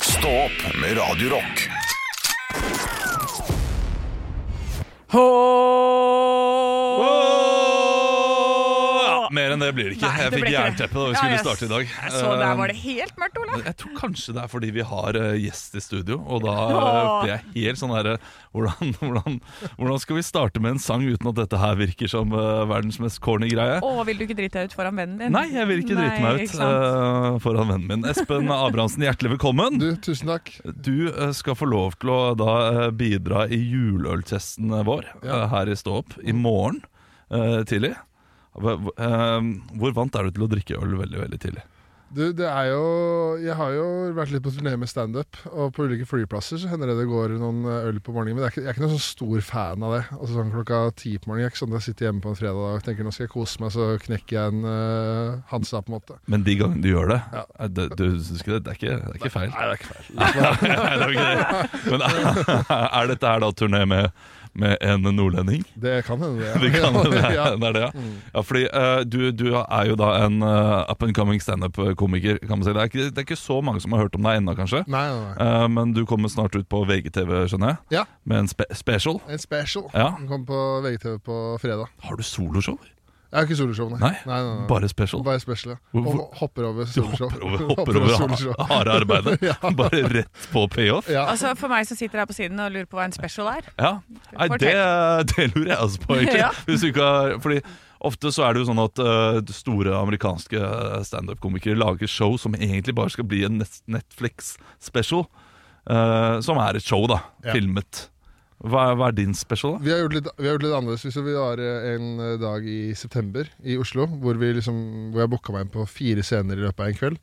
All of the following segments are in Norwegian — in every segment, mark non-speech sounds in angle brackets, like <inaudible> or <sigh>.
Stå opp med Radio Rock. Ja, mer enn det blir det ikke. Nei, jeg det fikk ble ikke det. jernteppe da vi Ja, skulle jeg starte i dag. s- Så der var det helt mørkt, Olav. Men Jeg tror kanskje det er fordi vi har eh, gjest i studio, og da Åh. eh, blir jeg helt sånn herre hvordan, <laughs> hvordan, hvordan skal vi starte med en sang uten at dette her virker som eh, verdens mest corny greie? Å, vil du ikke drite deg ut foran vennen din? Nei, jeg vil ikke drite Nei, meg ut ikke sant? eh, foran vennen min. Espen Abrahamsen, hjertelig velkommen. Du, tusen takk. Du eh, skal få lov til å da eh, bidra i juleøltesten vår Ja. eh, her i Stå opp i morgen eh, tidlig. Hva- hva- eh, Hvor vant er du til å drikke øl veldig, veldig tidlig? Du, det er jo Jeg har jo vært litt på turné med standup, og på ulike flyplasser så hender det det går noen eh, øl på morgenen. Men det er ikke, jeg er ikke noen sånn stor fan av det. Altså sånn Klokka ti på morgenen. Jeg er ikke sånn at jeg sitter hjemme på en fredag og tenker nå skal jeg kose meg, så knekker jeg en eh, Hansa, på en måte. Men de gangene du gjør det, Ja. eh, det, du, synes ikke det, det, er ikke, det er ikke feil. Nei, det er ikke feil. <laughs> Nei, det er jo ikke det. Men <laughs> er dette her da turné med, med en nordlending? Det kan hende, det. <laughs> Det, kan, det, er, <laughs> ja. Mm. det er det, ja. ja fordi eh, du, du er jo da en eh, up and coming standup-komiker, kan man si. Det er, ikke, det er ikke så mange som har hørt om deg ennå, kanskje. Nei, nei, nei. Eh, men du kommer snart ut på VGTV, skjønner jeg, Ja, med en spe special. en special. Ja. Den kom på VGTV på fredag. Har du soloshow? Jeg har ikke soloshow, nei. Nei, nei, nei, nei. Bare special? Bare special, ja. Hvor- Og hopper over Du soloshow. hopper over, hopper over soloshow. <laughs> har- harde arbeidet? Bare rett på payoff? Ja. Altså, For meg som sitter her på siden og lurer på hva en special er. Ja, Nei, det, det lurer jeg også på, egentlig. Ja. Hvis du ikke har, fordi ofte så er det jo sånn at eh, store amerikanske standup-komikere lager show som egentlig bare skal bli en net- Netflix-special. eh, som er et show, da. Ja. Filmet. Hva, er- hva er din special, da? Vi har gjort litt, vi har gjort litt annerledes. Hvis vi var eh, en eh, dag i september i Oslo, hvor, vi liksom, hvor jeg booka meg inn på fire scener i løpet av en kveld.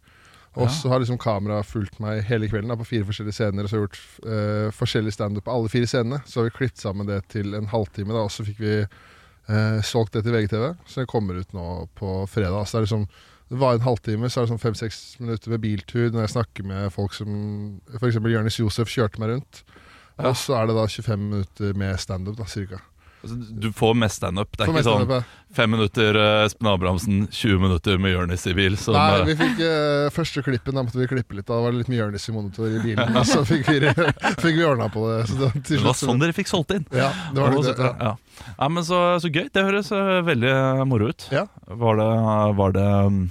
Og Ja. så har liksom kameraet fulgt meg hele kvelden da, på fire forskjellige scener. Og så har jeg gjort eh, forskjellig standup på alle fire scenene. Så har vi klippet sammen det til en halvtime, da, og så fikk vi eh, solgt det til VGTV. Så det kommer ut nå på fredag. Så det er liksom det var en halvtime, så er det sånn fem-seks minutter med biltur når jeg snakker med folk som F.eks. Jonis Josef kjørte meg rundt. Og så er det da 25 minutter med standup, da, cirka. Altså, du får mest standup. Det er For ikke sånn mesterløpet. fem minutter eh, Espen Abrahamsen, 20 minutter med Jonis i bil. Som, Nei, eh, vi fikk eh, første klippen. Da måtte vi klippe litt. Da var det litt mye Jonis i monitor i <laughs> bilen. Og så fikk vi, <laughs> fikk vi ordna på det. Så det, til det var slutt- sånn dere fikk solgt inn. Ja, det var Og litt, så- det, ja. ja. Nei, men så, så gøy. Det høres eh, veldig moro ut. Ja. Var det, var det um,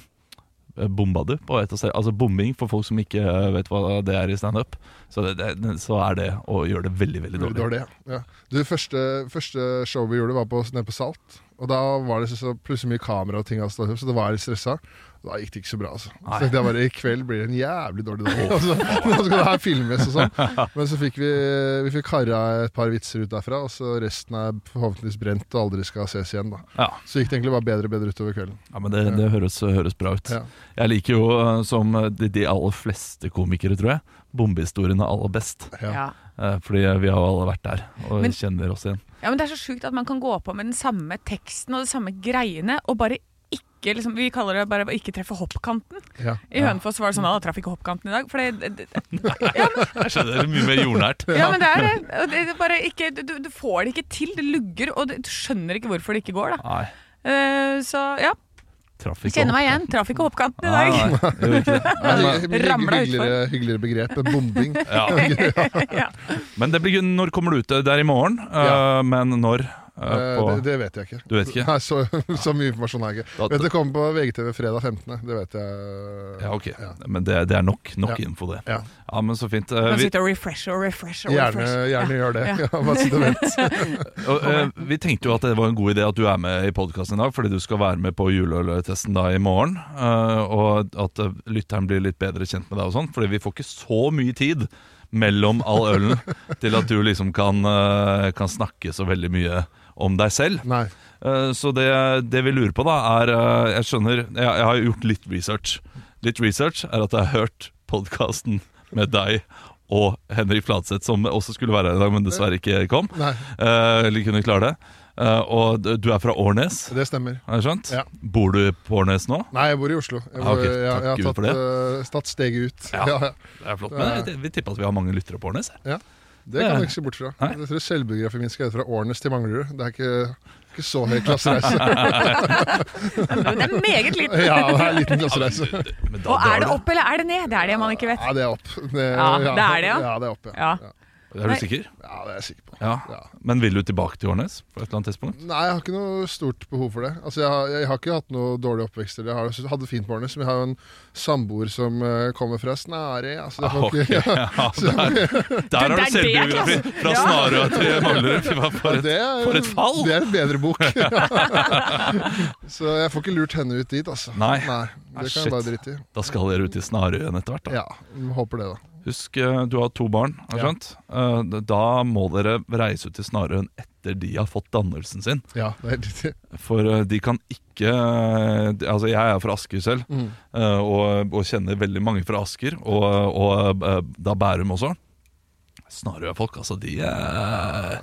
Bomba du på et av se- Altså bombing for folk som ikke eh, vet hva det er i standup, så, det- det- så er det å gjøre det veldig, veldig Veldig dårlig. dårlig. ja. Ja. Du, første, første show vi gjorde, var på, nede på Salt. Og da var det så- så plutselig mye kamera og ting, altså, så det var jeg litt stressa. Da gikk det ikke så bra. altså Så Nei. tenkte jeg bare I kveld blir det en jævlig dårlig dag. <laughs> Altså, nå skal det her filmes og <laughs> sånn. Men så fikk vi, vi fikk karra et par vitser ut derfra, og så resten er forhåpentligvis brent og aldri skal ses igjen. da Ja, Så gikk det egentlig bare bedre og bedre utover kvelden. ja men det, det høres, høres bra ut. Ja. Jeg liker jo, eh, som de, de aller fleste komikere, tror jeg, bombehistoriene aller best. Ja. Ja. Eh, Fordi vi har jo alle vært der og Men- kjenner oss igjen. ja, men Det er så sjukt at man kan gå på med den samme teksten og de samme greiene, og bare ikke liksom, Vi kaller det bare å ikke treffe hoppkanten. Ja. I Hønefoss var det sånn at traff ikke hoppkanten i dag. For det, det, det, Jeg skjønner det er mye mer jordnært. ja, men det er det. Og det, det er bare ikke, du, du får det ikke til. Det lugger, og det, du skjønner ikke hvorfor det ikke går. da Nei, Eh, Så ja, traff jeg ikke kjenner opp. meg igjen. Traff ikke hoppkanten i Nei, dag. nei, det gjør ikke det. Hygg- hygg- ramla utfor. hyggeligere, hyggeligere begrep. enn Bombing. <laughs> Eh, Ja. Ja. Men det blir, gøy. når kommer det ut? Det er i morgen, eh, Ja. men når? eh, Eh, på, det, det vet jeg ikke. Du vet ikke? Nei, så, <laughs> så mye informasjon har jeg ikke. Da- Vet Det kommer på VGTV fredag 15. Det vet jeg. ja, ok. Ja. Men det, det er nok, nok Ja. info, det. Ja. Ja, men så fint. Eh, Man vi, sitter og refresher og refresher. Og Gjerne, refresher. gjerne gjør det. <laughs> Ja, bare sitt og <laughs> vent. og, eh, vi tenkte jo at det var en god idé at du er med i podkasten i dag, fordi du skal være med på juleøltesten da i morgen. eh, og at eh, lytteren blir litt bedre kjent med deg og sånn, fordi vi får ikke så mye tid mellom all ølen til at du liksom kan, eh, kan snakke så veldig mye om deg selv. Nei. Eh, Så det, det vi lurer på da er eh, Jeg skjønner, jeg, jeg har gjort litt research Litt research er at jeg har hørt podcasten med deg og Henrik Fladseth Som også skulle være her i dag, men dessverre ikke kom Nei, Eh, Eller kunne klare det Eh, Og d- du er fra Årnes, det stemmer. har jeg skjønt? Ja. Bor du på Årnes nå? Nei, jeg bor i Oslo. Jeg, Ah, ok. jeg, jeg, Takk har Gud for tatt, eh, tatt steget ut. Ja. Ja. Ja, Det er flott, men det- Eh, vi tipper at vi har mange lyttere på Årnes jeg. Det Det kan er- du ikke se bort fra. Nei. Jeg tror selvbiografien min skal hete 'Fra Årnes til Manglerud'. Det er ikke, ikke så høy klassereise. <laughs> Men det er meget liten. ja, det er en liten klassereise. Men da Og er drar det du. opp eller er det ned? Det er det man ikke vet. Ja, det er opp. Det, Ja, det er det, ja. Ja, det er opp, ja. Ja. ja. Er du sikker? Ja, det er jeg sikker på. Ja. Men vil du tilbake til Årnes på et eller annet <laughs> tidspunkt? Nei, jeg har ikke noe stort behov for det. Altså, jeg, har, jeg har ikke hatt noe dårlig oppvekst. Eller jeg har, jeg hadde det fint på årene. som Jeg har jo en samboer som eh, kommer fra Snarøy. Altså, det var Ah, Ok, <laughs> ikke, ja, der, der har det du er det, selvbiografi klasse. fra Ja. Snarøya <laughs> til Manglerud. Fy faen, For et, det er, for et fall! Det er et bedre <laughs> bok. <laughs> Så jeg får ikke lurt henne ut dit, altså. Nei. Ah, det kan shit. jeg bare drite i. Da skal dere ut i Snarøyen etter hvert. Da. Ja, Håper det, da. Husk, eh, du har to barn, har jeg Ja. skjønt? Eh, d- Da må dere reise ut til Snarøyen etter de har fått dannelsen sin. Ja, det er helt riktig. For eh, de kan ikke eh, de- Altså, jeg er fra Asker selv, Mm. eh, og, og kjenner veldig mange fra Asker, og, og eh, da Bærum også. Snarøya-folk, altså, de eh,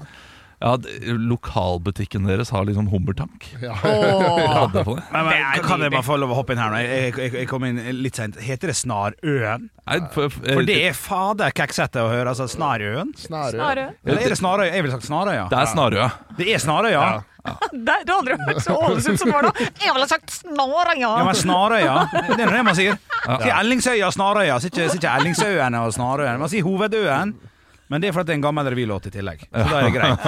Ja, de- lokalbutikken deres har liksom hummertank. Ja. Ja, det er på det. Men, men, Det er kan jeg nydelig. bare få lov å hoppe inn her nå? Jeg, jeg, jeg kom inn litt sent. Heter det Snarøen? Nei, for, eh, for, For det er fader kekksete å høre. Altså Snarøen? Snarøy. Snarøye. Eller er det Snarøy? Jeg ville sagt Snarøya. det er Snarøya. Det er Snarøya. Ja. Der, du har aldri vært så Ålesund som var da. Jeg ville sagt Snarøya. men Snarøya, det er nå det man sier. Sier Ellingsøya og Snarøya, sier ikke, sier ikke Ellingsøyene og Snarøyen. Man sier Hovedøen, men det er fordi det er en gammel revylåt i tillegg. Så da er det greit.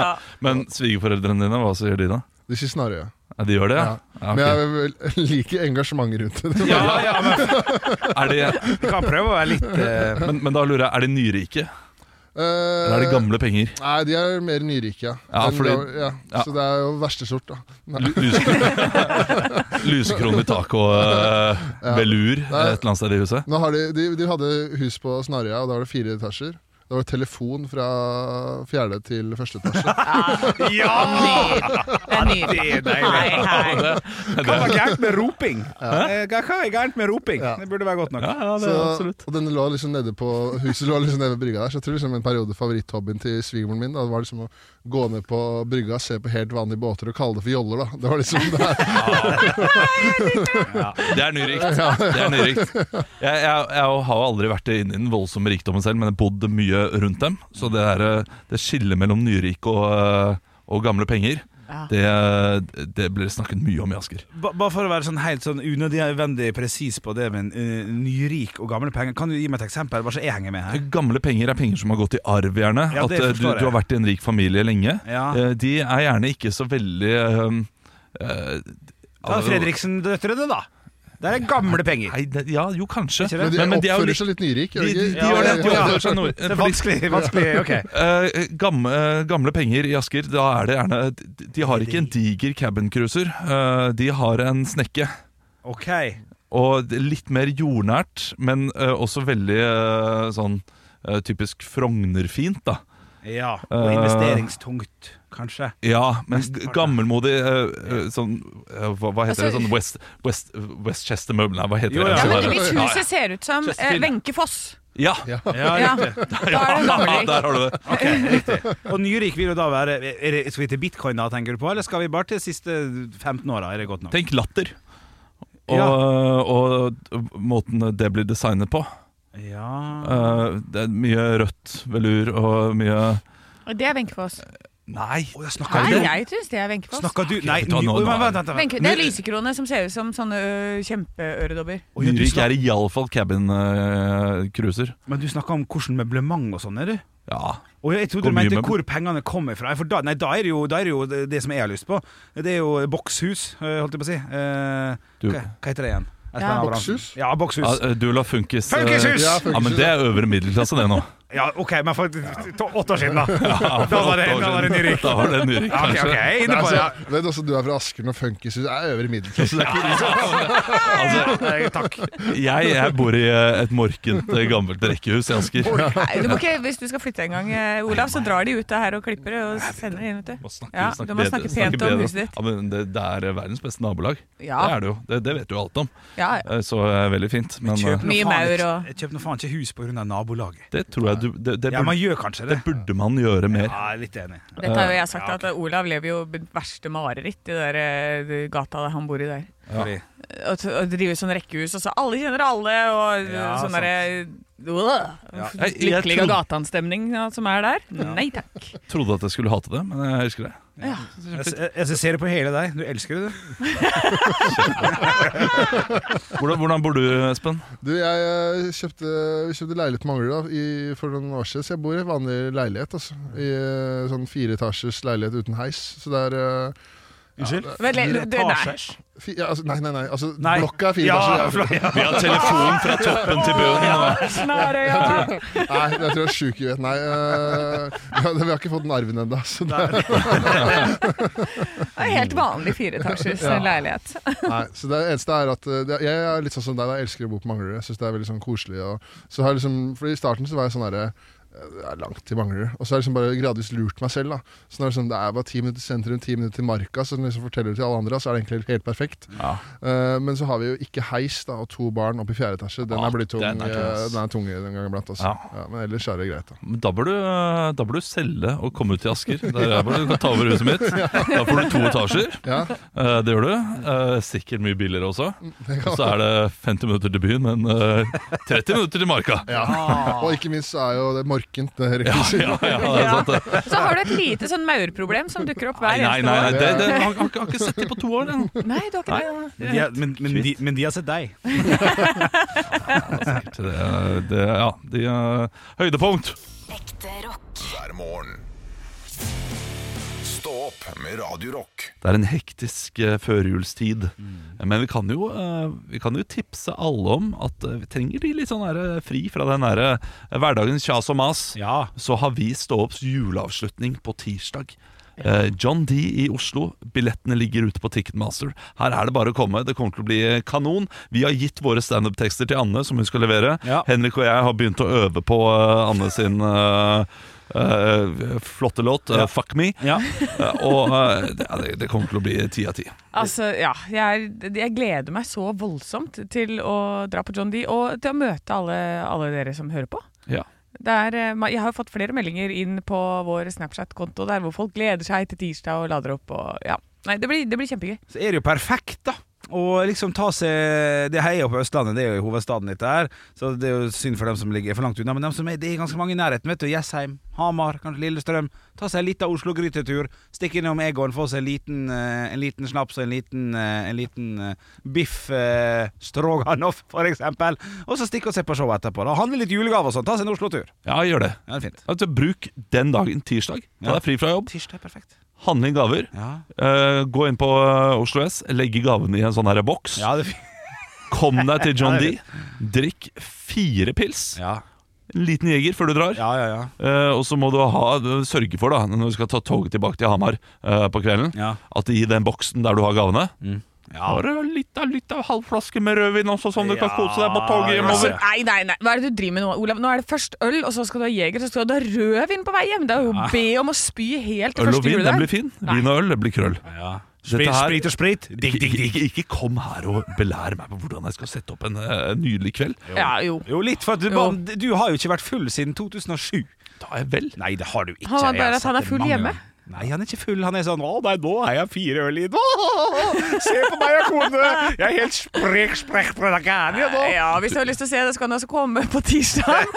Men svigerforeldrene dine, hva sier de da? De sier Snarøya. Ja, de gjør det, ja? Ja. ja ok. Men jeg vil- <laughs> liker engasjementet rundt det. <laughs> Ja, ja, men er de, vi kan prøve å være litt eh, men, men da lurer jeg, er de nyrike? Eller er det gamle penger? Eh, Nei, de er mer nyrike, ja. Ja, Den fordi- da- ja. ja. Så det er jo verste sort, da. Nei. Lu- lusekron- Lusekron i taket og eh, velur et eller annet sted i huset? Nå har de, de, de hadde hus på Snarøya, og da var det fire etasjer. Da var det telefon fra fjerde til første etasje. Ja! Det er nydelig. Det er deilig. Hei, hei. Hva er gærent med roping? Eh, Hva er gærent med roping? Ja. Det burde være godt nok. Ja, <laughs> ja, det Så, er absolutt. og denne lå liksom nede på Huset lå liksom nede ved brygga der, så jeg tror liksom en periode favoritthobbyen til svigermoren min da, var liksom å gå ned på brygga, se på helt vanlige båter og kalle det for joller, da. Det var liksom det her. Det er nyrikt. Det er nyrikt. Jeg, jeg, jeg har aldri vært inne i den voldsomme rikdommen selv, men jeg har bodd mye rundt dem. Så det, er, eh, det skillet mellom nyrik og, eh, og gamle penger, Ja. det, det blir snakket mye om i Asker. Ba- Bare for å være sånn helt sånn unødvendig presis på det med eh, nyrik og gamle penger, kan du gi meg et eksempel? Bare så jeg henger med her. Gamle penger er penger som har gått i arv, gjerne. Ja, At det eh, du, forstår jeg. du har vært i en rik familie lenge. Ja. Eh, De er gjerne ikke så veldig eh, eh, Ta Fredriksen-døtrene, da. Der er gamle penger. Nei, det, ja, jo, kanskje. Ikke det? Men de Men- men de er jo oppfører litt- seg litt nyrik. De, gjør de, de Ja, gjør det. ja, De ja. oppfører seg nord- Det er fordi- vanskelig, vanskelig, ok Eh, gamle, eh, gamle penger i Asker, da er det gjerne De, de har ikke en diger cabincruiser, eh, de har en snekke. Ok Og det er litt mer jordnært, men eh, også veldig eh, sånn eh, typisk Frogner-fint, da. Ja, og Eh. investeringstungt, kanskje Ja, men Mest g- part, gammelmodig eh, eh, sånn eh, hva, hva heter Altså- det? Sånn West, West, Westchester-møblene? Hva heter Jo, det? ja. Ja, Altså, men der- Hvis huset ser ut som eh, Wenche Foss, Ja, Ja, Ja. riktig da er det <laughs> ja, gammelig. der har du det. Ok, riktig Og nyrik vil jo da være er det, Skal vi til bitcoin da, tenker du på? Eller skal vi bare til siste 15 åra? Er det godt nok? Tenk latter. Og, og måten det blir designet på. Ja Eh, det er mye rødt velur og mye Og Det er Wenche Foss. Nei! Å, jeg snakker Nei, du jeg syns det er Wenche Foss. Snakker du Nei, vet du hva, ny, nå- Oi, nå- men vent, vent, vent Wenche- Det er lysekrone som ser ut som sånne øh, ø, kjempeøredobber. Oi, ja, du Nyrik snak- er iallfall cabin-cruiser. Men du snakker om hvordan møblement og sånn, er du? ja. Og jeg trodde Hvor du mye mente møbler? hvor pengene kommer fra. For da, nei, da er det jo, da er det, jo det, det som jeg har lyst på. Det er jo bokshus, eh, holdt jeg på å si. Eh, Du- hva, hva heter det igjen? Espen Ja. Abrahamsen. Bokshus? Ja, bokshus. ja eh, du la funkis eh, Funkishus! Ja, Ja, men det er øvre middelklasse, det nå. Ja, OK, men for to- åtte år <laughs> siden, da. Ja, Da var det- for åtte år da var det siden. nyrik. Da var det nyrik, Ja, OK, kanskje. ok, jeg er Nei, inne på det. altså, vet også du er fra Asker og funkishus er øvre middelklasse. Det er ikke- Altså, eh, takk. Jeg, jeg bor i eh, et morkent, eh, gammelt rekkehus i Asker. Nei, du må ikke, hvis du skal flytte en gang, ø, Olav, så drar de ut det her og klipper det og sender det inn. vet du Må snakke- Ja, snakke du må bedre- snakke pent om bedre. huset ditt. Ja, men det, det er verdens beste nabolag. Det Ja, er det jo. Det, det vet du alt om. ja. Eh, Så eh, veldig fint. Men eh, Kjøp nå Mye faen maur ikke- og- jeg kjøper nå faen ikke hus pga. nabolaget. det tror jeg du Det, det, Ja, man burde, gjør kanskje det det. burde man gjøre mer. Ja, jeg er litt enig. Dette har jo jeg sagt, Ja, at ok. Olav lever jo mitt verste mareritt i der, ø, gata der han bor i der. Fordi- Og, t- og drive sånn rekkehus, og så alle kjenner alle, og Ja, sånn sant. derre Jeg- jeg Lykkelig trodde- og gateanstemning ja, som er der. Nei takk. Trodde at jeg skulle hate det, men jeg elsker det. Ja. Jeg, jeg, jeg ser det på hele deg. Du elsker det, du. Hvordan, hvordan bor du, Espen? Du, jeg eh, kjøpte, vi kjøpte leilighet på Manglerud da, i- for noen år siden, så jeg bor i vanlig leilighet. Altså. I eh, sånn fireetasjers leilighet uten heis. Så det er eh, Unnskyld? Vel, du- du- nei. Etasjer. fi, ja, altså, Nei, nei, nei. Altså, Nei. Blokka er Ja, fireetasjer. fla- ja. Vi har telefonen fra toppen til bunnen. Snarøya! Nei, jeg tror jeg er sjuk i vet. Nei, eh, <laughs> vi har- vi har ikke fått den arven ennå. så det- Det er Helt vanlig fireetasjers Ja. leilighet. Nei, så det eneste er at eh, det- Jeg er litt sånn som deg, da. jeg elsker å bo på Manglerud. Jeg synes det er veldig sånn koselig. Og, så har jeg liksom, for I starten så var jeg sånn derre eh, Det er langt til Manglerud. Og så har jeg liksom bare gradvis lurt meg selv. da Så nå er Det sånn, det er bare ti minutter til sentrum, ti minutter til Marka. Så når jeg liksom forteller det til alle andre, så er det egentlig helt perfekt. Ja. Eh, men så har vi jo ikke heis da og to barn opp i fjerde etasje. Den Ah, er blitt tung den er tung, eh, ass. den er tung den gangen blant. Altså. Ja. Ja, men ellers er det greit. da Men Da bør, du, eh, da bør du selge og komme ut til Asker. Der er hvor du kan ta over huset mitt. Da får du to etasjer. Ja, Eh, Det gjør du. Eh, Sikkert mye billigere også. Og så er det 50 minutter til byen, men eh, 30 minutter til Marka. ja. <laughs> Og ikke minst så er jo det morkent, det rekvisitet. Ja, ja, det er sant det. Så har du et lite sånn maurproblem som dukker opp Nei, hver nei, eneste nei, år. det, det, han har ikke- har ikke sett det på to år. Den. Nei, du har ikke det. De har- men, men, de, men de har sett deg. Det, er- det, er- ja, de, eh, høydepunkt. Ekte rock. hver morgen. Stå opp med Radio Rock. Det er en hektisk eh, førjulstid. Men vi kan, jo, eh, vi kan jo tipse alle om at eh, vi trenger de litt sånn her, eh, fri fra den der eh, hverdagens kjas og mas. Ja. Så har vi Stå opps juleavslutning på tirsdag. Eh, John D i Oslo. Billettene ligger ute på Ticketmaster. Her er det bare å komme. Det kommer til å bli kanon. Vi har gitt våre standup-tekster til Anne, som hun skal levere. Ja. Henrik og jeg har begynt å øve på eh, Anne sin eh, eh, flotte låt, eh, Ja. 'Fuck Me'. ja. Eh, Og eh, det, ja, det- det kommer til å bli ti av ti. Altså, ja. Jeg, er, jeg gleder meg så voldsomt til å dra på John D, og til å møte alle, alle dere som hører på. Ja. Det er, eh, ma- jeg har jo fått flere meldinger inn på vår Snapchat-konto der hvor folk gleder seg til tirsdag og lader opp og ja. Nei, det blir, det blir kjempegøy. så er det jo perfekt, da. Og liksom ta seg Det heier jo på Østlandet, det er jo i hovedstaden litt der. Så det er jo synd for dem som ligger for langt unna. Men dem som er, det er ganske mange i nærheten. vet du Jessheim, Hamar, kanskje Lillestrøm. Ta seg en liten Oslo-grytetur. Stikk innom Egon, få seg en liten, eh, en liten snaps og en liten, eh, en liten eh, biff eh, stroganoff, for eksempel. Og så stikk og se på showet etterpå. Da Handle litt julegaver og sånn. Ta seg en Oslo-tur. ja, gjør det. Ja, det er fint. Altså, bruk den dagen, tirsdag. Ta Ja. deg fri fra jobb, Tirsdag er perfekt. handle inn gaver. Ja, eh, gå inn på eh, Oslo S, legge gavene i en sånn her boks. ja det er fint. Kom deg til John Ja, D. det Drikk fire pils. Ja, En liten jeger før du drar. ja, ja. ja. Eh, og så må du ha, sørge for, da når du skal ta toget tilbake til Hamar eh, på kvelden, Ja. at i den boksen der du har gavene, ja. har du litt, av- litt av halvflaske med rødvin også, som du kan Ja, kose deg på toget Altså, hjemover. nei, nei, nei. Hva er det du driver med nå, Olav? Nå er det først øl, og så skal du ha jeger, så skal du ha rødvin på vei hjem. Det er jo å be om å spy helt til Øl første og vin, den blir juledag. fin. Vin og øl, det blir krøll. Ja. Dette Sprit, her- sprit og sprit. Digg, Ikke, digg, ikke, digg. ikke, ikke kom her og belær meg på hvordan jeg skal sette opp en eh, nydelig kveld. Ja, jo. Jo, litt, for at du, Jo. du har jo ikke vært full siden 2007. Da er jeg vel. Nei, det har du ikke. Han var Jeg har bare at sett han er det full mange hjemme. ganger. Nei, han er ikke full. Han er sånn Å, nei, nå er jeg fire øl i Se på meg og kone! Jeg er helt sprek, sprek på denne gangen, jeg, nå. Ja, hvis du har lyst til å se det, så kan du også komme på <laughs> tirsdag.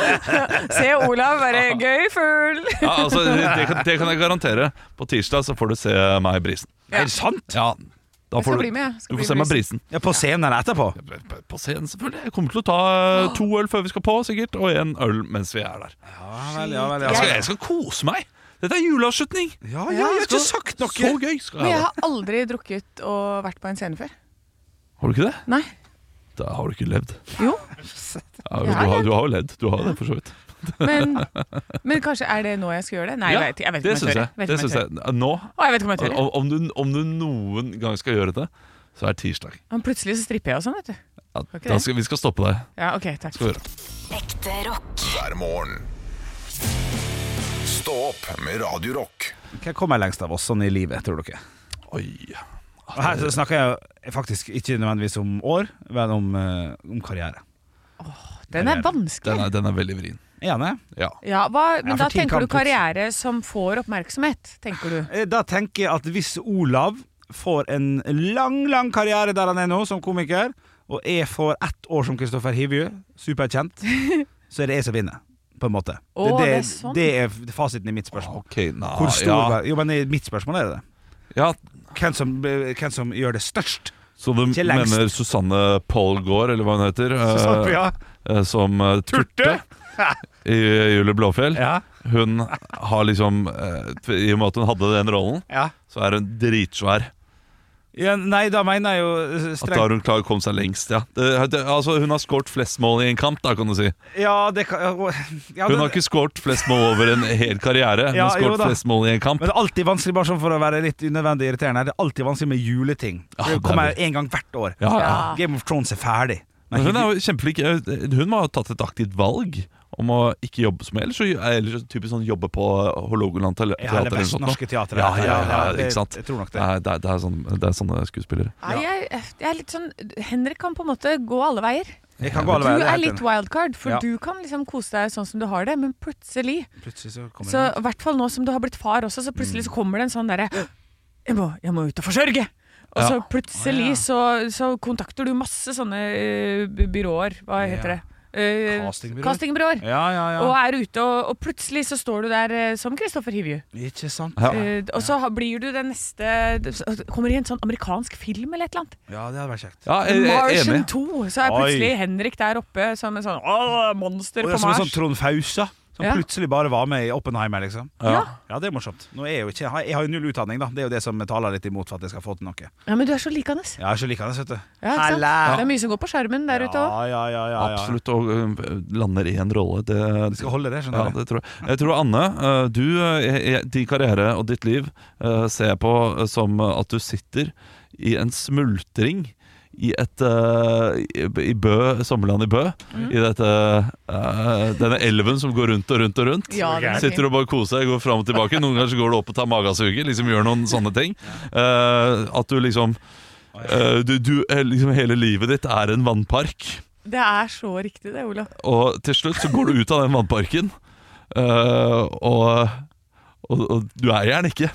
se Olav være gøy full. Ja, altså, det, det, kan, det kan jeg garantere. På tirsdag så får du se meg i brisen. Er det sant? Ja, da Jeg skal får bli du, med. jeg skal du bli får se med. meg i brisen. Ja, På scenen eller etterpå? På- På scenen, selvfølgelig. Jeg kommer til å ta eh, to øl før vi skal på, sikkert, og en øl mens vi er der. Ja vel, ja vel. Jeg skal, Ja, jeg skal kose meg! Dette er juleavslutning! ja, jeg har ikke sagt noe. Så gøy skal Men jeg jeg ha det. har aldri drukket og vært på en scene før. Har du ikke det? Nei. Da har du ikke levd. Jo, Ja, Jeg du, har har, du har jo ledd. Du har det, for så vidt. men, men kanskje er det nå jeg skal gjøre det? Nei, Ja, jeg vet, jeg vet det ikke om syns jeg jeg. tør. Vet Det ikke om synes jeg tør. jeg. Nå, Å, jeg vet ikke om jeg tør. om, om, du, om du noen gang skal gjøre det, så er tirsdag. Men plutselig så stripper jeg og sånn, vet du. Ja, ikke da det? skal, vi skal stoppe deg. Ja, ok, takk. Skal vi gjøre. Ekte rock. hver morgen. Stå opp med Radio Rock. Hva kommer jeg lengst av oss sånn i livet, tror dere? Oi. Og her så snakker jeg faktisk ikke nødvendigvis om år, men om, eh, om karriere. Den er Den vanskelig. er, den er veldig vrien. Er han det? Ja. Ja, hva, men Ja, da for ting tenker kan du karriere som får oppmerksomhet, tenker du. Eh, Da tenker jeg at hvis Olav får en lang, lang karriere der han er nå, <laughs> som komiker, og jeg får ett år som Kristoffer Hivju, superkjent, så er det jeg som vinner. på en måte. Å, det, det er sånn. det er f- fasiten i mitt spørsmål. Ok, nei, Hvor stor ja. ver- Jo, men i mitt spørsmål er det det. Ja, Hvem som, hvem som gjør det størst? Så du Til lengst. mener Susanne Polgaard, eller hva hun <laughs> heter, eh, Susanne, ja. eh, som eh, Turte <laughs> i Julie Blåfjell? Ja. Hun har liksom eh, t- I og med at hun hadde den rollen, ja. så er hun dritsvær. ja nei, da mener jeg jo At eh, da har strengt hun klart å komme seg lengst, ja. Det, det, altså, hun har skåret flest mål i en kamp, da, kan du si. Ja, det kan ja, Hun det- har ikke skåret flest mål over en hel karriere, hun Ja, har jo skåret da. flest mål i en kamp. Men det er alltid vanskelig, bare sånn for å være litt unødvendig irriterende, det er alltid vanskelig med juleting. Ja, Det det er kommer det. en gang hvert år. Ja, ja. Ja. Game of Thrones er ferdig. Men hun er jo kjempeflink. Eh, Hun må ha tatt et aktivt valg om å ikke jobbe som ellers. så- Ellers så typisk sånn jobbe på Hålogaland Teater Ja, eller eller noe sånt nå. Norske Teatret. Ja, ja, ja, det- ikke sant? Jeg tror nok Det det. er, det, er, det, er sånn, det er sånne skuespillere. Nei, jeg, jeg er litt sånn Henrik kan på en måte gå alle veier. Jeg kan gå alle Du veier. det er helt litt enig. wildcard, for Ja. du kan liksom kose deg sånn som du har det, men plutselig Plutselig så kommer Mm. Så i hvert fall nå som du har blitt far også, så plutselig så kommer det en sånn derre jeg, må- 'Jeg må ut og forsørge!' Og så Ja. plutselig så, så kontakter du masse sånne eh, by- byråer. Hva Ja. heter det? Eh, Castingbyråer. Castingbyråer. Ja, ja, ja. Og er ute, og, og plutselig så står du der eh, som Kristoffer Hivju. Ikke sant? Ja. Eh, og så har- blir du den neste det- så Kommer i en sånn amerikansk film eller et eller annet. Ja, det hadde vært kjekt. Ja, jeg, jeg er Martian enig. 2. Så er plutselig Henrik der oppe som en sånn «Åh, monster Og på det er som en Mars. sånn Trond Fausa, som Ja. plutselig bare var med i Oppenheimer, liksom. ja. Ja, det er morsomt. Nå er jeg, jo ikke, jeg har jo null utdanning, da. Det er jo det som taler litt imot for at jeg skal få til noe. ja, men du er så likende. Jeg er ikke likende, vet du. Ja, ikke sant? Halla! Det er mye som går på skjermen der ute òg. Ja, ja, ja, ja, ja. Absolutt. Og øh, lander i en rolle. Det, Vi skal holde det, ja, skjønner du. det tror jeg. jeg tror Anne, øh, du, øh, jeg- jeg- din karriere og ditt liv øh, ser jeg på øh, som øh, at du sitter i en smultring i et øh, i- I Bø, Sommerland i Bø. Mm. I dette øh, denne elven som går rundt og rundt og rundt. Ja, den er fin. Sitter og bare koser deg, går fram og tilbake. Noen ganger så går du opp og tar magesuget. Liksom gjør noen sånne ting. Eh, at du liksom eh, du, du, eh, liksom Hele livet ditt er en vannpark, Det er så riktig det, Olav. og til slutt så går du ut av den vannparken. eh, og, og, og du er gjerne ikke,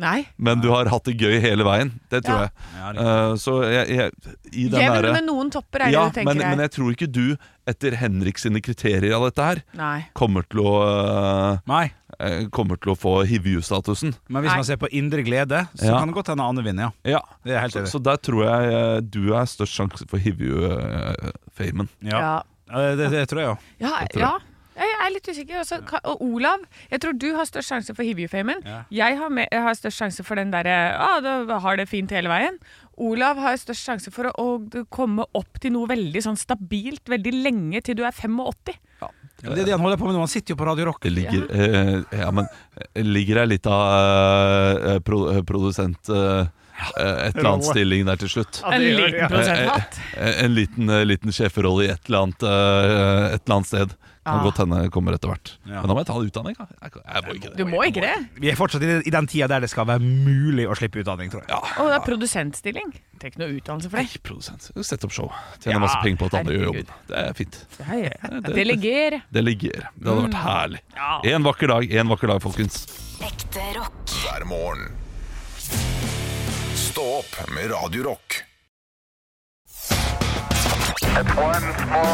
Nei. men du har hatt det gøy hele veien. Det tror Ja. jeg. Ja, det- Eh, så jeg, jeg i den Jevn derre- med noen topper, er det ja, du tenker men, men her. jeg tror ikke du, etter Henrik sine kriterier av dette her, Nei. kommer til å, Nei, eh, eh, kommer til å få Hivju-statusen. men hvis Nei. man ser på indre glede, så Ja. kan det godt hende Anne vinner, ja. Ja, Det er jeg helt Så, enig. så der tror jeg eh, du er størst sjanse for eh, Hivju-famen. i. Ja. Ja. Eh, Det, det tror jeg jo. Ja, Det tror jeg. ja. Jeg er litt usikker. Også, Ka- og Olav, jeg tror du har størst sjanse for Hivju-famen. Ja. Jeg har, me- jeg har størst sjanse for den derre ah, du har det fint hele veien. Olav har størst sjanse for å, å komme opp til noe veldig sånn stabilt veldig lenge, til du er 85. Ja, men Det er det han holder på med nå. Han sitter jo på Radio Rock. Det ligger eh, Ja, men eh, ligger ei lita eh, pro, eh, produsent eh, eh, Et eller annet Rolle. stilling der til slutt. det En gjør liten jeg. prosenthatt. Eh, En liten, eh, liten sjeferolle i et eller annet, eh, et eller annet sted. Kan Ah. godt hende kommer etter hvert. Ja. Men da må jeg ta utdanning. da. Jeg, kan- jeg må ikke Du det. må ikke det. Vi er fortsatt i den- i den tida der det skal være mulig å slippe utdanning, tror jeg. Og det er produsentstilling. Trenger ikke noe utdannelse for det. Ikke produsent. Sett opp show. Tjener Ja, masse penger på at andre gjør herregud. jobben. Det er fint. Ja, ja. det- Delegere. Det ligger. Det hadde vært herlig. Mm. Ja. En vakker dag, en vakker dag, folkens. Ekte rock. hver morgen. Stå opp med Radio Rock.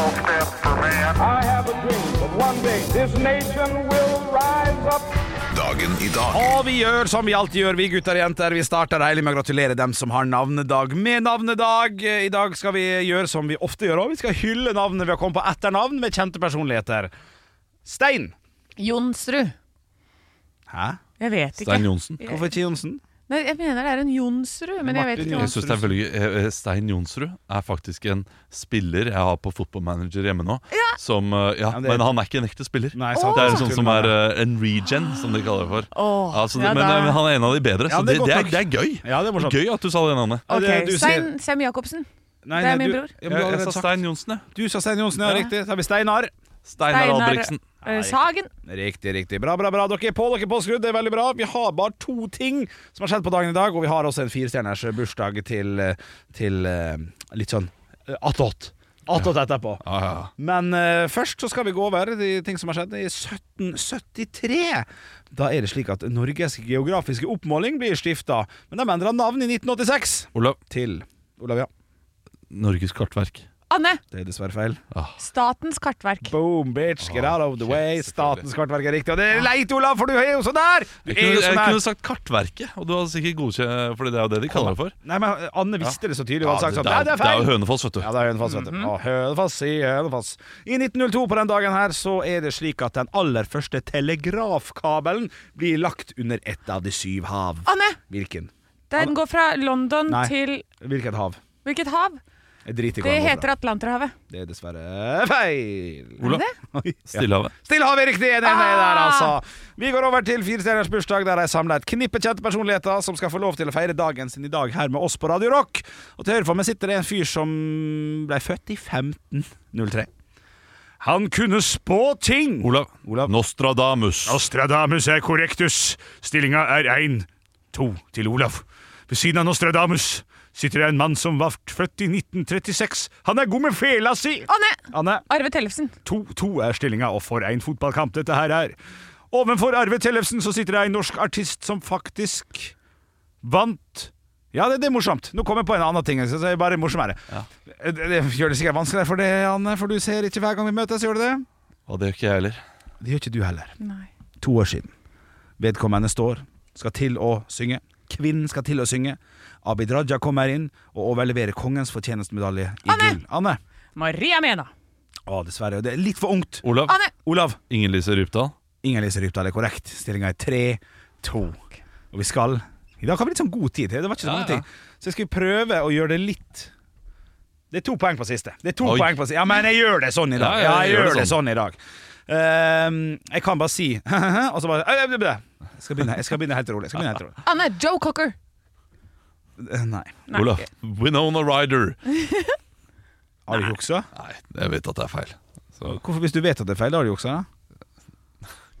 I have a dream that one day this nation will rise up. Dagen i dag Og vi gjør som vi alltid gjør, vi gutter og jenter. Vi starter deilig med å gratulere dem som har navnedag med navnedag. Eh, I dag skal vi gjøre som vi ofte gjør òg. Vi skal hylle navnet ved å komme på etternavn med kjente personligheter. Stein. Jonsrud. Hæ? Jeg vet ikke. Stein Johnsen. Hvorfor ikke Johnsen? Nei, jeg mener det er en Jonsrud, men jeg vet Martin ikke. Jeg hva- synes det er veldig gøy. Eh, eh, Stein Jonsrud er faktisk en spiller jeg har på fotballmanager hjemme nå. Som, eh, ja, Ja, det- men han er ikke en ekte spiller. Nei, sant. det er en Åh. sånn som er eh, en regen, som de kaller det for. Åh, Altså, ja men, da. eh, men han er en av de bedre, Ja, så det, det er det, er, godt det er gøy. Ja, det er morsomt. Gøy at du sa det navnet. Ja, Ok, det- du sier- Stein Sem Jacobsen. Nei, Det er nei, min du- bror. Ja, men du har Jeg, jeg allerede sa sagt- Stein Johnsen, jeg. Du sa Stein Johnsen, ja, Ja. riktig. Så har vi Steinar. Steinar Steinar- Albrigtsen. Eh, Sagen. Riktig, riktig. Bra, bra, bra. Dere er på, dere er påskrudd. Det er veldig bra. Vi har bare to ting som har skjedd på dagen i dag, og vi har også en firestjerners bursdag til, til eh, litt sånn eh, attåt. Attåt etterpå. Ja, ja, ja. Men eh, først så skal vi gå over de ting som har skjedd i 1773. Da er det slik at Norges geografiske oppmåling blir stifta, men de endra navn i 1986 Olav, til Olav, ja. Norges kartverk. Anne! Det er dessverre feil. Statens kartverk. Boom, bitch, get out of the Ah, shit, way. selvfølgelig. Statens kartverk er riktig. Og det er leit, Olav, for du er jo så der! Du Jeg er kunne, jo så jeg kunne der. sagt Kartverket, og du hadde sikkert godkjent eh, Fordi det er jo det de kaller det for. Nei, men eh, Anne visste det så tydelig. Ja, og hadde det, sagt sånn, Nei, det, det er er, det er feil! jo Hønefoss, vet du. Ja, det er Hønefoss, Mhm. vet du. Ja, Hønefoss i Hønefoss. I 1902 på den dagen her så er det slik at den aller første telegrafkabelen blir lagt under ett av de syv hav. Anne! Hvilken? Den går fra London Nei. til Hvilket hav? hvilket hav? Jeg driter i Det hvor den går fra. heter Atlanterhavet. Det er dessverre feil. Olav, Oi, <laughs> ja. Stillehavet. Stillehavet er riktig! Nei, nei, der, Ah! altså. Vi går over til Firestjerners bursdag, der de samler et knippe kjente personligheter som skal få lov til å feire dagen sin i dag her med oss på Radio Rock. Og til høyre for meg sitter det en fyr som ble født i 1503. Han kunne spå ting! Olav. Olav. Nostradamus. Nostradamus er korrektus. Stillinga er 1-2 til Olav. Ved siden av Nostradamus sitter det en mann som var født i 1936. Han er god med fela si! Anne! Anne, Arve Tellefsen. 2-2 er stillinga, og for en fotballkamp dette her er. Ovenfor Arve Tellefsen så sitter det en norsk artist som faktisk vant Ja, det, det er morsomt. Nå kom jeg på en annen ting. Så det er bare morsommere. Eh, Det, det gjør det sikkert vanskeligere for deg, Anne, for du ser ikke hver gang vi møtes, gjør du det? Og det gjør ikke jeg heller. Det gjør ikke du heller. Nei. To år siden. Vedkommende står, skal til å synge. Kvinnen skal til å synge. Abid Raja kommer inn og overleverer kongens fortjenestmedalje i Anne! gull. Anne! Maria Mena. Å, dessverre. og Det er litt for ungt. Olav. Anne! Olav, Ingen Lise Rypdal. Inger Lise Rypdal er korrekt. Stillinga er 3-2. Og vi skal I dag har vi litt sånn god tid. Det var ikke så Ja, mange ja. ting. Så jeg skal prøve å gjøre det litt Det er to poeng på siste. Det er to Oi. poeng på siste. Ja, men jeg gjør det sånn i dag. Ja, jeg, gjør det sånn i dag. Ehm, jeg kan bare si <laughs> Og så bare jeg skal, begynne, jeg skal begynne helt rolig. Jeg skal begynne helt rolig. Anne! Joe Cocker. Eh, Nei. Nei. Olav. Winona Ryder. Har du juksa? Nei, jeg vet at det er feil. Så Hvorfor hvis du vet at det er feil, da har du juksa?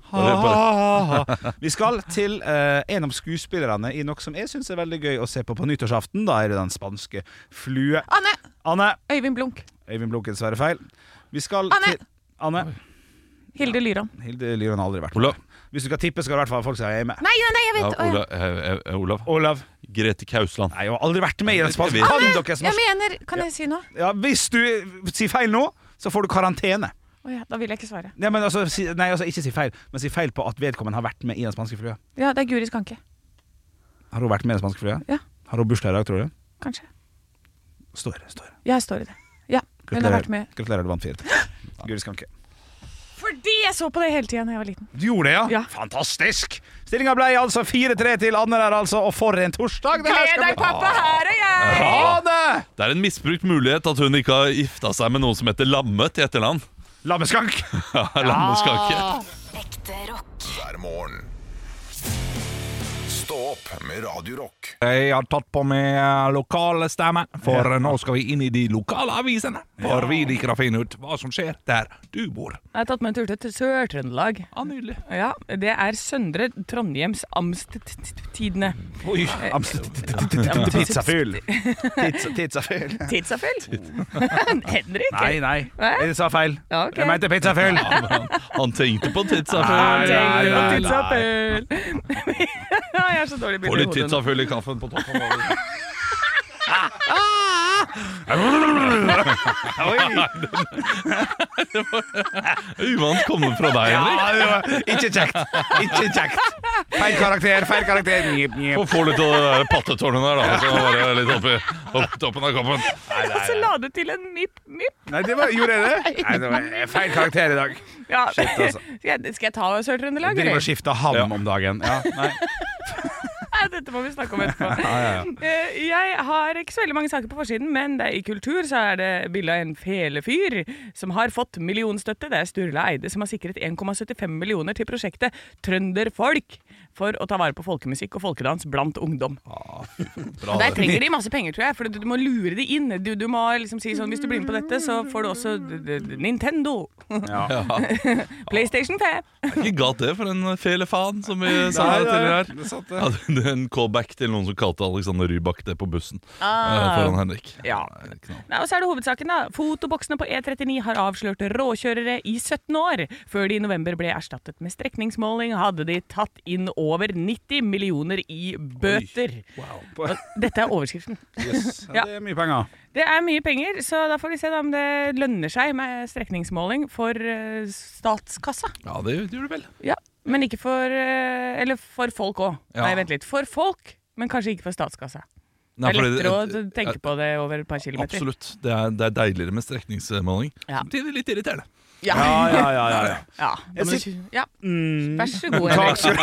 Bare- Vi skal til eh, en av skuespillerne i noe som jeg syns er veldig gøy å se på på nyttårsaften. Da er det den spanske flue. Anne! Anne. Øyvind Blunk. Øyvind Blunk er dessverre feil. Vi skal Anne! til Anne. Hilde Lyron. Hilde Lyron har aldri vært med. Olav. Hvis du skal tippe, skal det i hvert fall folk som er med. Nei, nei, nei, jeg Ja, vet Å, ja. Olav. eh, eh, Olav. Olav. Grete Kausland. Nei, jeg har aldri vært med i den spanske. Jeg vet. Kan dere som Jeg har... mener Kan jeg si noe? ja, hvis du sier feil nå, så får du karantene. Å ja, da vil jeg ikke svare. Nei, men altså, si, nei, altså ikke si feil, men si feil på at vedkommende har vært med i den spanske flua. Ja, det er Guri Skanke. Har hun vært med i den spanske flua? Ja. Har hun bursdag i dag, tror du? Kanskje. Står, står. Jeg står i det. Ja, hun har vært med. Gratulerer, du vant <gasps> 4. Guri Skanke. Fordi jeg så på det hele tida da jeg var liten. Du gjorde det, ja? Ja. Fantastisk! Stillinga ble altså 4-3 til Anne der, altså. Og for en torsdag! det her Gled skal deg, bli- pappa, her er jeg! Anne! Det er en misbrukt mulighet at hun ikke har gifta seg med noen som heter Lamme til <laughs> etternavn. Lammeskank! Lamme skal ikke. Ekte rock. hver morgen. Stå opp med Radio Rock. Jeg har tatt på meg eh, lokale stemmer, for eh, nå skal vi inn i de lokale avisene. For vi liker å finne ut hva som skjer der du bor. Jeg har tatt meg en tur til Sør-Trøndelag. Ja, nydelig. Ja, det er Søndre Trondheims Amsttidene. Pizzafyll. Pizza- Pizzafyll. Tidsafyll? <laughs> Henrik? <laughs> Nei, nei. Hæ? Jeg sa feil. Ja, ok. Jeg mente pizzafyll. Han tenkte på Nei, tidsavfølg. nei, Tenk på nei, tidsafyll! Ja, jeg er så dårlig Får bilde i hodet. litt nå. tidsavfølg i kaffen på toppen. av det. Uvant kommet fra deg, Ja, Henrik. det var ikke kjekt. Ikke kjekt. Feil karakter, feil karakter. Njep, njep. Og får litt av det der pattetårnet der, da. Så bare litt oppi opp toppen av kaffen. Og så la du til en mip-mip. Nei, det var, gjorde jeg det? Nei, det var feil karakter i dag. Ja. Shit, altså. <laughs> Skal jeg- skal jeg ta Jeg Sør-Trøndelag, driver eller? og skifter ham om dagen. Ja, nei. Nei, Dette må vi snakke om etterpå. Eh, Jeg har ikke så veldig mange saker på forsiden, men det er i kultur så er det bilde av en felefyr som har fått millionstøtte. Det er Sturla Eide som har sikret 1,75 millioner til prosjektet Trønderfolk for å ta vare på folkemusikk og folkedans blant ungdom. Og der trenger de masse penger, tror jeg, for du, du må lure de inn. Du, du må liksom si sånn, hvis du blir med på dette, så får du også d- d- d- Nintendo, Ja. PlayStation 5. Ikke galt det for en felefan, som vi sa Nei, nei, tidligere her. det er sant, det. Ja, det er en callback til noen som kalte Alexander Rybak det på bussen eh, Ah. foran Henrik. Ja. Knall. Nei, og så er det hovedsaken da. Fotoboksene på E39 har avslørt råkjørere i 17 år. Før de i november ble erstattet med strekningsmåling, hadde de tatt inn over 90 millioner i bøter. <laughs> På- Og dette er overskriften. Yes. Ja. Det er mye penger. Det er mye penger, så da får vi se da om det lønner seg med strekningsmåling for eh, statskassa. Ja, det gjør du vel. Ja, Men ikke for eh, Eller for folk òg. Ja. Nei, vent litt. For folk, men kanskje ikke for statskassa. Det Nei, er fordi lettere å tenke på det over et par kilometer. Absolutt. Det er, det er deiligere med strekningsmåling. Ja. Samtidig litt irriterende. Ja. Ja, ja, ja. ja, ja. Ja, Jeg men- Mm. ja. Vær så god, Takk Henrik. skal du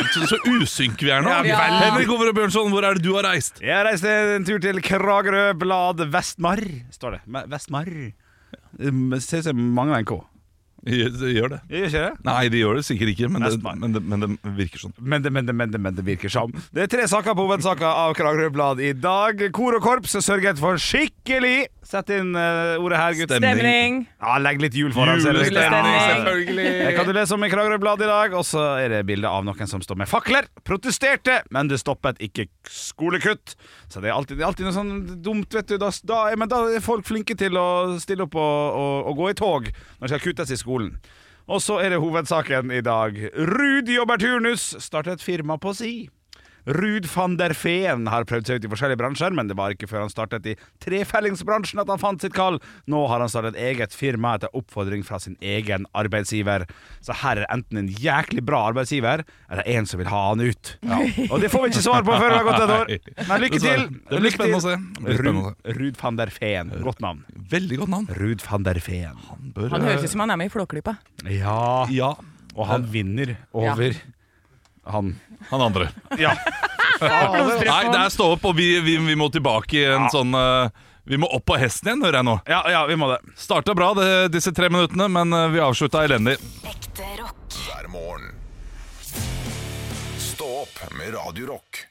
ha. Så, så usynk vi er nå. Ja, veldig. Henrik Over og Bjørnson, hvor er det du har reist? Jeg reiste en tur til Kragerø Blad Vestmar, står det. Me- Vestmar. Det ser ut som jeg mangler en K. Gjør gjør det. Jeg gjør ikke det? Nei, de gjør det sikkert ikke, men det, Nesten, nei. men det, men det virker sånn. Men det, men, det, men, det, men det virker som. Det er tre saker på hovedsaker av Kragerø Blad i dag. Kor og korps sørget for skikkelig Sett inn eh, ordet her, gutt. Stemning. Stemning. Ja, legg litt jul foran. så er det litt- Julestemning. Det Eh, kan du lese om i Kragerø Blad i dag. Og så er det bilde av noen som står med fakler. Protesterte, men det stoppet ikke skolekutt. Så det er alltid, det er alltid noe sånn dumt, vet du. Da, da, er- men da er folk flinke til å stille opp og, og, og gå i tog når det skal kuttes i skolen. Og så er det hovedsaken i dag. Ruud jobber turnus, startet firma på si. Ruud van der Feen har prøvd seg ut i forskjellige bransjer, men det var ikke før han startet i trefellingsbransjen at han fant sitt kall. Nå har han startet eget firma etter oppfordring fra sin egen arbeidsgiver. Så her er enten en jæklig bra arbeidsgiver, eller en som vil ha han ut. <laughs> Og det får vi ikke svar på før det har gått et år. Men lykke til! Det blir spennende å se. Det blir spennende å Ruud- Ruud van der Feen. Godt navn. se. Veldig godt navn. Ruud van der Feen. Bør, Han eh, høres ut som han er med i Flåklypa. Ja. Ja, Og han vinner over han. han andre. Ja. Nei, det er stå opp, og vi, vi, vi må tilbake i en sånn eh, Vi må opp på hesten igjen, hører jeg nå. ja, ja, vi må det. Starta bra det, disse tre minuttene, men eh, vi avslutta elendig. Ekte rock. hver morgen. Stå opp med Radio Rock.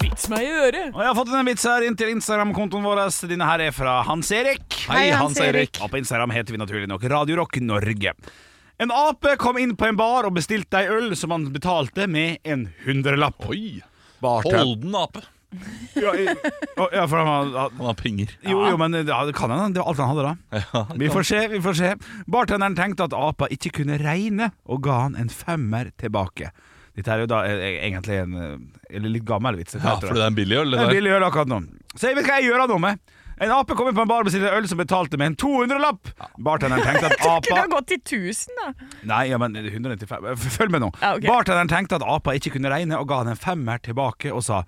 Vits meg i øret! Og jeg har fått en vits her inn til Instagram-kontoen vår. Denne her er fra Hans Erik. Hei, Hans Erik. Og på Instagram heter vi naturlig nok Radio Rock Norge. En ape kom inn på en bar og bestilte ei øl som han betalte med en hundrelapp. Oi! Bartend- Holden ape. Ja, i- å, ja, for han var- Han har penger. jo, jo, men ja, det kan hende. Det var alt han hadde, da. Vi får se, vi får se. Bartenderen tenkte at apa ikke kunne regne, og ga han en femmer tilbake. Dette er jo da eh, egentlig en eh, eller litt gammel vits. dette Ja, heter det. fordi det er en billig øl, det Jeg der. vil gjøre akkurat nå. Så jeg vet hva jeg gjør av noe med. En ape kom inn på en bar og bestilte øl som betalte med en 200-lapp. Bartenderen <laughs> tenkte at Kunne apa ha gått til 1000, da. Nei, ja, men 195 F- Følg med nå. Ja, ok. Bartenderen tenkte at apa ikke kunne regne, og ga han en femmer tilbake og sa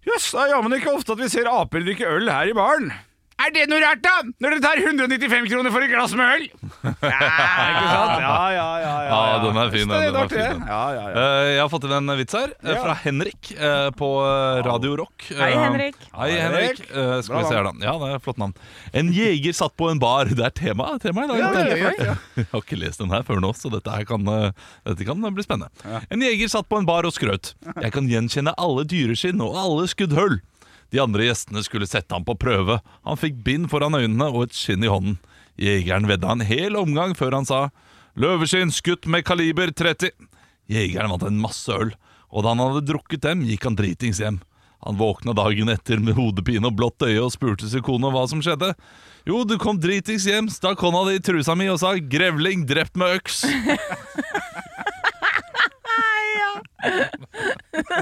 Jøss, det er jammen ikke ofte at vi ser aper drikke øl her i baren. Er det noe rart, da? Når dere tar 195 kroner for et glass med øl? <laughs> Ja, ikke sant? Ja, ja, ja. ja, Ja, den er fin, den. Så det Den er artig, det. fin, den. Ja, ja, ja. Eh, jeg har fått inn en vits her, eh, Ja. fra Henrik eh, på eh, Radio Rock. Hei, Eh, Henrik. Hei, Henrik. Eh, skal Bra vi se her, da. Ja, det er flott navn. En jeger satt på en bar. Det er tema, tema i dag. Ja, vet du. ja, ja. <laughs> Jeg har ikke lest den her før nå, så dette, her kan, eh, dette kan bli spennende. En jeger satt på en bar og skrøt. Jeg kan gjenkjenne alle dyreskinn og alle skuddhull. De andre gjestene skulle sette ham på prøve. Han fikk bind foran øynene og et skinn i hånden. Jegeren vedda en hel omgang før han sa løveskinn skutt med kaliber 30. Jegeren vant en masse øl, og da han hadde drukket dem, gikk han dritings hjem. Han våkna dagen etter med hodepine og blått øye og spurte sin kone hva som skjedde. Jo, du kom dritings hjem, stakk hånda di i trusa mi og sa 'grevling drept med øks'.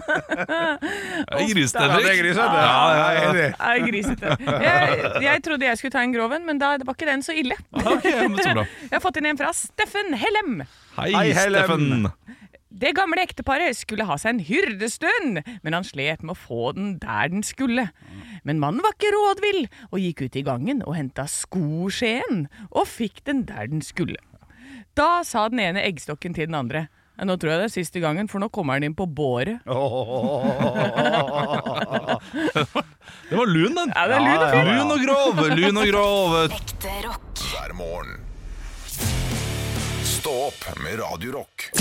Det er Ja, det er Grisestemning. grisete. Ja, ja, ja. enig. Nei, grisete. Jeg, jeg trodde jeg skulle ta en grov en, men da det var ikke den så ille. Ok, men så bra. Jeg har fått inn en fra Steffen Hellem. Hei, Hei, Helen. Steffen. Det gamle ekteparet skulle ha seg en hyrdestund, men han slet med å få den der den skulle. Men mannen var ikke rådvill, og gikk ut i gangen og henta skoskjeen, og fikk den der den skulle. Da sa den ene eggstokken til den andre. «Ja, Nå tror jeg det er siste gangen, for nå kommer den inn på båret. Den var lun, den. Ja, det er lyd og fint. Lun og grov, lun og grov. Ekte rock. hver morgen. Stå opp med Radio Rock.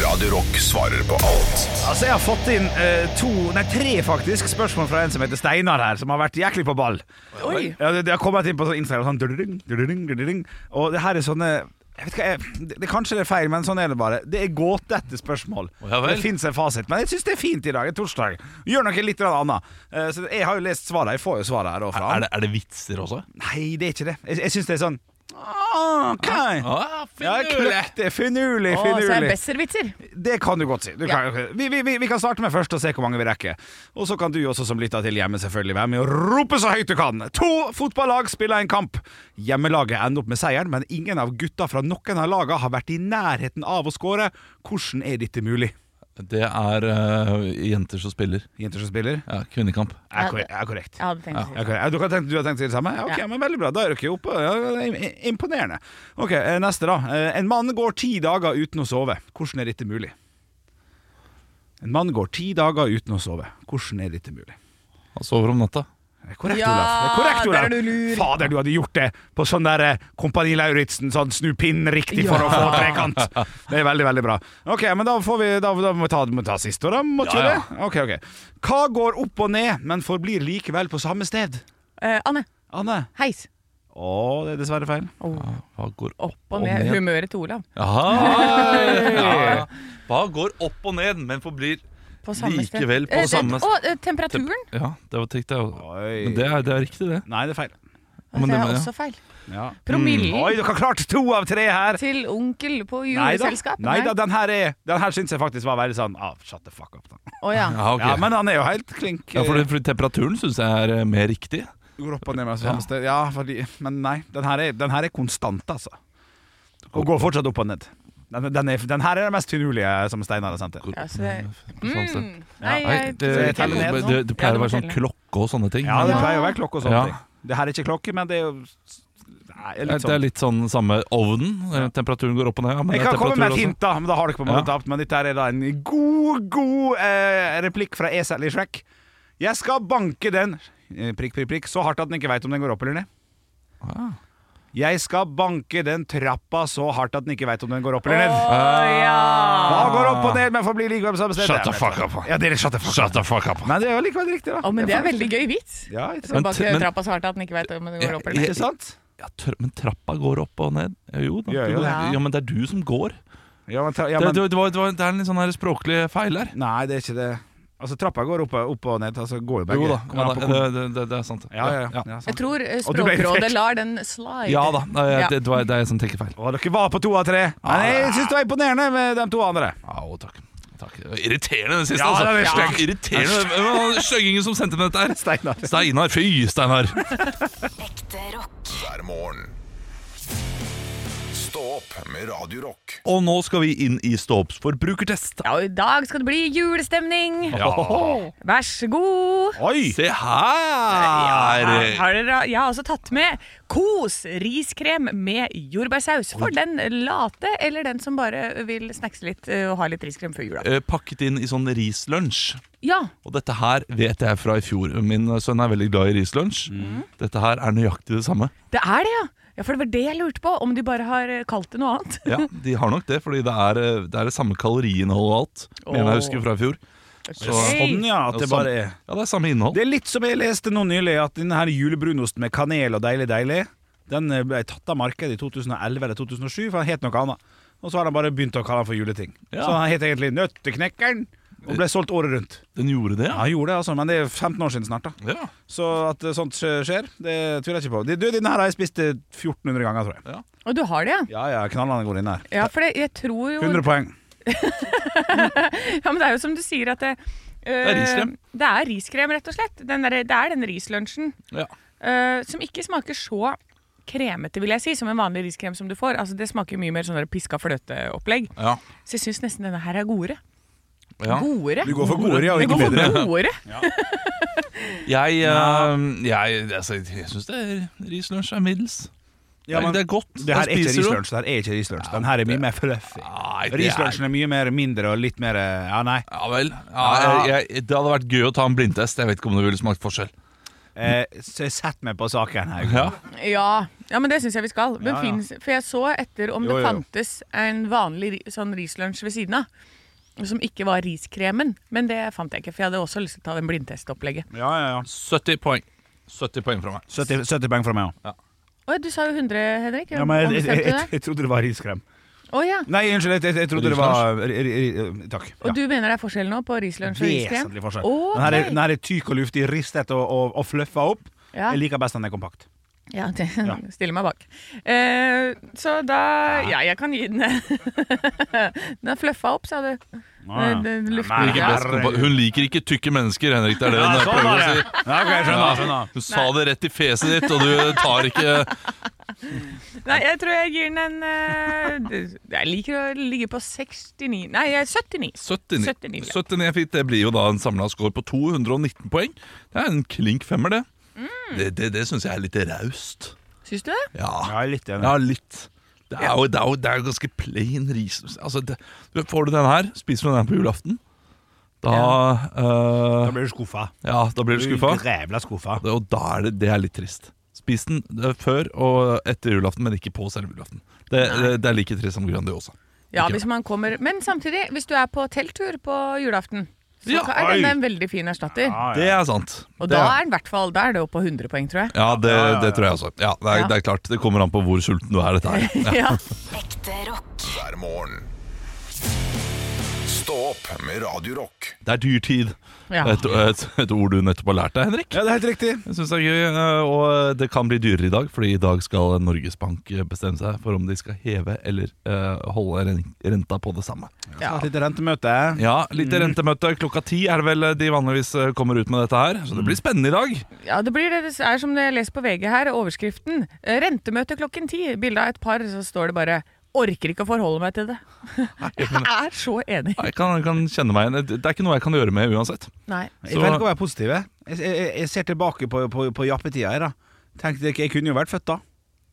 Radio Rock svarer på alt Altså, jeg har fått inn eh, to, nei, tre faktisk spørsmål fra en som heter Steinar her, som har vært jæklig på ball. Oi. Ja, det, det har kommet inn på sånn Instagram, sånn dududung, dududung, dududung. Og det her er sånne jeg vet ikke, jeg, det, det, Kanskje det er feil, men sånn er det bare. Det er gåtete spørsmål. Å, ja vel. det fins en fasit, men jeg syns det er fint i dag. Det er torsdag. Gjør noe litt grann annet. Eh, så jeg har jo lest svarene. Jeg får jo svarene her. Og fra. Er det, er det vitser også? Nei, det er ikke det. Jeg, jeg syns det er sånn ah, OK! Ah, Ja, finurlig. kløktig. Finurlig, Og så er det finurlig. besserwitser. Det kan du godt si. Du kan, vi, vi, vi, vi kan starte med først og se hvor mange vi rekker. Og så kan du også som lytter til hjemme selvfølgelig være med og rope så høyt du kan. To fotballag spiller en kamp. Hjemmelaget ender opp med seieren, men ingen av gutta fra noen av lagene har vært i nærheten av å skåre. Hvordan er dette mulig? Det er eh, jenter som spiller. Jenter som spiller? Ja, Kvinnekamp. Er korrekt. Er korrekt. Jeg hadde tenkt å si Ja, ok. Ja, du, kan tenke, du har tenkt å si det samme? Ja, ok, Ja. men Veldig bra. Da er dere oppe. Ja, im- imponerende. Ok, eh, Neste, da. Eh, En mann går ti dager uten å sove. Hvordan er dette mulig? En mann går ti dager uten å sove. Hvordan er dette mulig? Han sover om natta. Det er korrekt, Ja, Olaf. Det er korrekt, der Olaf. er du lur. Fader, du hadde gjort det på sånn der eh, Kompani Lauritzen, sånn snu pinnen riktig for å få trekant. Det er veldig, veldig bra. Ok, men da får vi Da, da må vi ta, må vi ta siste, da. Må ikke vi Ja, det? Ok, ok. Hva går opp og ned, men forblir likevel på samme sted? Eh, Anne, Anne? heis. Å, det er dessverre feil. Åh, Hva går opp? opp og ned. Humøret til Olav. <laughs> Jaha, ja. Hva går opp og ned, men forblir På samme sted. Likevel på Eh, det- samme sted. Å, eh, temperaturen. Ja, det var tenkte jeg også. Oi. Men det er, det er riktig, det. Nei, det er feil. det men det er må- ja. også feil. Ja. Promillen Oi, dere har klart to av tre her! til onkel på Neida. juleselskap. Neida, den her, er- den her syns jeg faktisk var veldig sånn ah, Shut the fuck up. Da. Å, ja. Ja, ok. Ja, Men han er jo helt klink. ja, fordi, fordi temperaturen syns jeg er eh, mer riktig. Går opp og ned med samme sted. Ja, fordi, men nei, den her, er, den her er konstant, altså. Og går fortsatt opp og ned. Den, den, er, den her er den mest finurlige eh, som Steinar har sendt inn. Ja, så det, På samme sted. mm. Nei, sånn Nei, jeg, det, jeg det, teller ned nå. det, det Ja, pleier du å må være sånn telle. klokke og sånne ting. Ja, det Ja. pleier å være klokke og sånne Ja. ting. Det her er ikke klokke, men det er jo nei, Det er- litt Det er sånn. litt sånn samme ovnen. eh, Temperaturen går opp og ned. Ja, men Jeg det er kan komme med et temperatur hint, da, men da har dere på en måte Ja. tapt. Men dette her er da en god, god eh, replikk fra Esel i Shrek. Jeg skal banke den eh, prikk, prikk, prikk, så hardt at den ikke veit om den går opp eller ned. Ah. Jeg skal banke den trappa så hardt at den ikke veit om den går opp eller ned. Hva går opp og ned, men får bli likevel på samme sted? Shut the Ja, fuck vet up. du. Ja, dere shut the fuck Shut up. the fuck up. Nei, det er jo likevel riktig, da. Å, men det er veldig gøy vits. Ja, ikke sant? Men Bak t- men- trappa så hardt at den ikke vet om den går opp eller ned. Ikke sant? Ja, tør, men trappa går opp og ned. Ja, Jo da. Gjør du jo går- det. ja, men det er du som går. Ja, men, ta- ja, Det, men, det, det, var, det, var, det er en litt sånn her språklig feil her. nei, det er ikke det. Altså, trappa går opp, og- opp og ned. Altså, går jo begge. Jo da, Kommer ja, an på da hvor- det, det, det, det er sant. Ja, ja, ja. ja Jeg sant. tror eh, Og du ble Språkrådet irritert. lar den slide. Ja da, nei, Ja. Det, det, var, det er jeg som tenker feil. Å, dere var på to av tre. Men jeg syns det var imponerende med de to andre. Au, takk. takk. Det var Irriterende den siste, Ja, altså. det er stygg. irriterende. Hvem var den Støggingen som sendte meg dette her. Steinar. Steinar. Fy, Steinar. ekte rock, hver morgen. Stå opp med Radio Rock. Og nå skal vi inn i Ståps forbrukertest. Ja, og I dag skal det bli julestemning! Ja. Vær så god! Oi! Se her! Her eh, har dere, jeg har også tatt med Kos riskrem med jordbærsaus. For den late eller den som bare vil snackse litt eh, og ha litt riskrem før jula. Eh, Pakket inn i sånn rislunsj. Ja, Og dette her vet jeg fra i fjor. Min sønn er veldig glad i rislunsj. Dette her er nøyaktig det samme. det er det, ja! Ja, For det var det jeg lurte på, om de bare har eh, kalt det noe annet. Ja, De har nok det, fordi det er eh, det, er det samme kaloriinnholdet og alt. Mener jeg husker fra i fjor. Sånn, ja. At det bare er Ja, det er samme innhold. Det er litt som jeg leste nå nylig, at denne her julebrunosten med kanel og deilig, deilig, den eh, ble tatt av markedet i 2011 eller 2007, for den het noe annet. Og så har de bare begynt å kalle den for juleting. Ja. Så den het egentlig Nøtteknekkeren, og ble solgt året rundt. Den gjorde det, Ja, han gjorde det, altså, men det er 15 år siden snart, da. ja. Så at eh, sånt skje- skjer, det tviler jeg ikke på. Det- Du, denne her har jeg spist eh, 1400 ganger, tror jeg. Og du har det, ja? Ja, ja, knallene går inn her. Ja, for det, jeg tror jo 100 poeng. <laughs> Ja, men det er jo som du sier at det, eh, er riskrem. Det er riskrem, rett og slett. Den derre- det er den rislunsjen Ja. eh, som ikke smaker så kremete, vil jeg si, som en vanlig riskrem som du får. Altså, det smaker jo mye mer sånn der piska fløteopplegg. Ja. Så jeg syns nesten denne her er godere. Ja. Godere? Du går for goderi, ja, og Den ikke går bedre. for godere. Jeg, eh, jeg, altså, jeg syns det er rislunsj er middels. Ja, men- det er godt. Det her Da er ikke spiser du. rislunsj. Det her er ikke rislunsj. Den her er mye mer fluffy. Nei, det Rislunsjen er mye mer mindre og litt mer eh, Ja, nei. Ja vel. Ja, jeg, jeg, det hadde vært gøy å ta en blindtest. Jeg vet ikke om det ville smakt forskjell. Eh, så sett meg på saken her. Ja. Ja. ja, men det syns jeg vi skal. Men Ja, ja. finnes, for jeg så etter om Jo, jo, det jo. fantes en vanlig ri- sånn rislunsj ved siden av. Som ikke var riskremen. Men det fant jeg ikke, for jeg hadde også lyst til å ta den blindtestopplegget. Ja, ja, ja. 70 poeng. 70 poeng fra meg. 70, 70 poeng fra meg òg. Å, du sa jo 100, Henrik. Ja, men jeg, jeg, ombestemte du jeg, deg? jeg trodde det var riskrem. Å ja. Nei, unnskyld. Jeg, jeg, jeg trodde det var ri, ri, ri, Takk. Og du mener det er forskjell nå på rislunsj og riskrem? Vesentlig forskjell. Ok. Den her er, den her er tyk og luftig, ristet og, og, og fluffa opp. Ja. Jeg liker best den er kompakt. Ja, det <laughs> stiller meg bak. Eh, så da Ja, jeg kan gi den <laughs> Den er fluffa opp, sa du. Å, ja. Den luften- Hun Nei, liker, best, kompa- hun liker ikke tykke mennesker, Henrik. Det er det Ja, hun sånn prøver var å det. si. Ja, ok, jeg skjønner, skjønner. Hun sa det rett i fjeset ditt, og du tar ikke Nei, jeg tror jeg gir den en eh, det- Jeg liker å ligge på 69 Nei, jeg er 79. 79. 79, ja. 79 er fint. Det blir jo da en samla score på 219 poeng. Det er en klink femmer, det. Det, det, det syns jeg er litt raust. Syns du det? Ja. Ja, jeg er litt enig. ja, litt. Det er jo, det er jo, det er jo ganske plain ris. Altså, det, får du den her, spiser du den her på julaften, da eh, Da blir du skuffa. Ja, da blir du skuffa. Rævla skuffa. Det- Og da er det, det er litt trist. Spis den eh, før og etter julaften, men ikke på selve julaften. Det, det, det er like trist som Grandiosa. Ja, Ikke hvis man kommer Men samtidig, hvis du er på telttur på julaften, så Ja, er den oi. en veldig fin erstatter. Det er sant. Og Det da er- er den i hvert fall Da er det oppe på 100 poeng, tror jeg. Ja, det, det tror jeg også. Ja, det, er, Ja. det er klart. Det kommer an på hvor sulten du er, <laughs> dette her. Ja. Ekte rock. hver morgen. Stå opp med Radio Rock. Det er dyrtid. Ja. Et, et, et ord du nettopp har lært deg, Henrik. Ja, det er helt riktig. Jeg synes det er gøy, eh, Og det kan bli dyrere i dag, Fordi i dag skal Norges Bank eh, bestemme seg for om de skal heve eller eh, holde ren- renta på det samme. Mm. Ja. Et lite rentemøte. Ja, litt rentemøte. Klokka ti er det vel de vanligvis eh, kommer ut med dette her. Så det blir spennende i dag. Ja, det blir det. Det er som jeg leser på VG her, overskriften. Eh, Rentemøte klokken ti. Bilde av et par, så står det bare Orker ikke å forholde meg til det. <laughs> Jeg er så enig. Jeg kan, jeg kan kjenne meg igjen. Det det er ikke noe jeg kan gjøre med uansett. Nei. Jeg velger å være positiv. jeg. Jeg, jeg, jeg ser tilbake på, på, på jappetida her. da Tenk dere, Jeg kunne jo vært født da.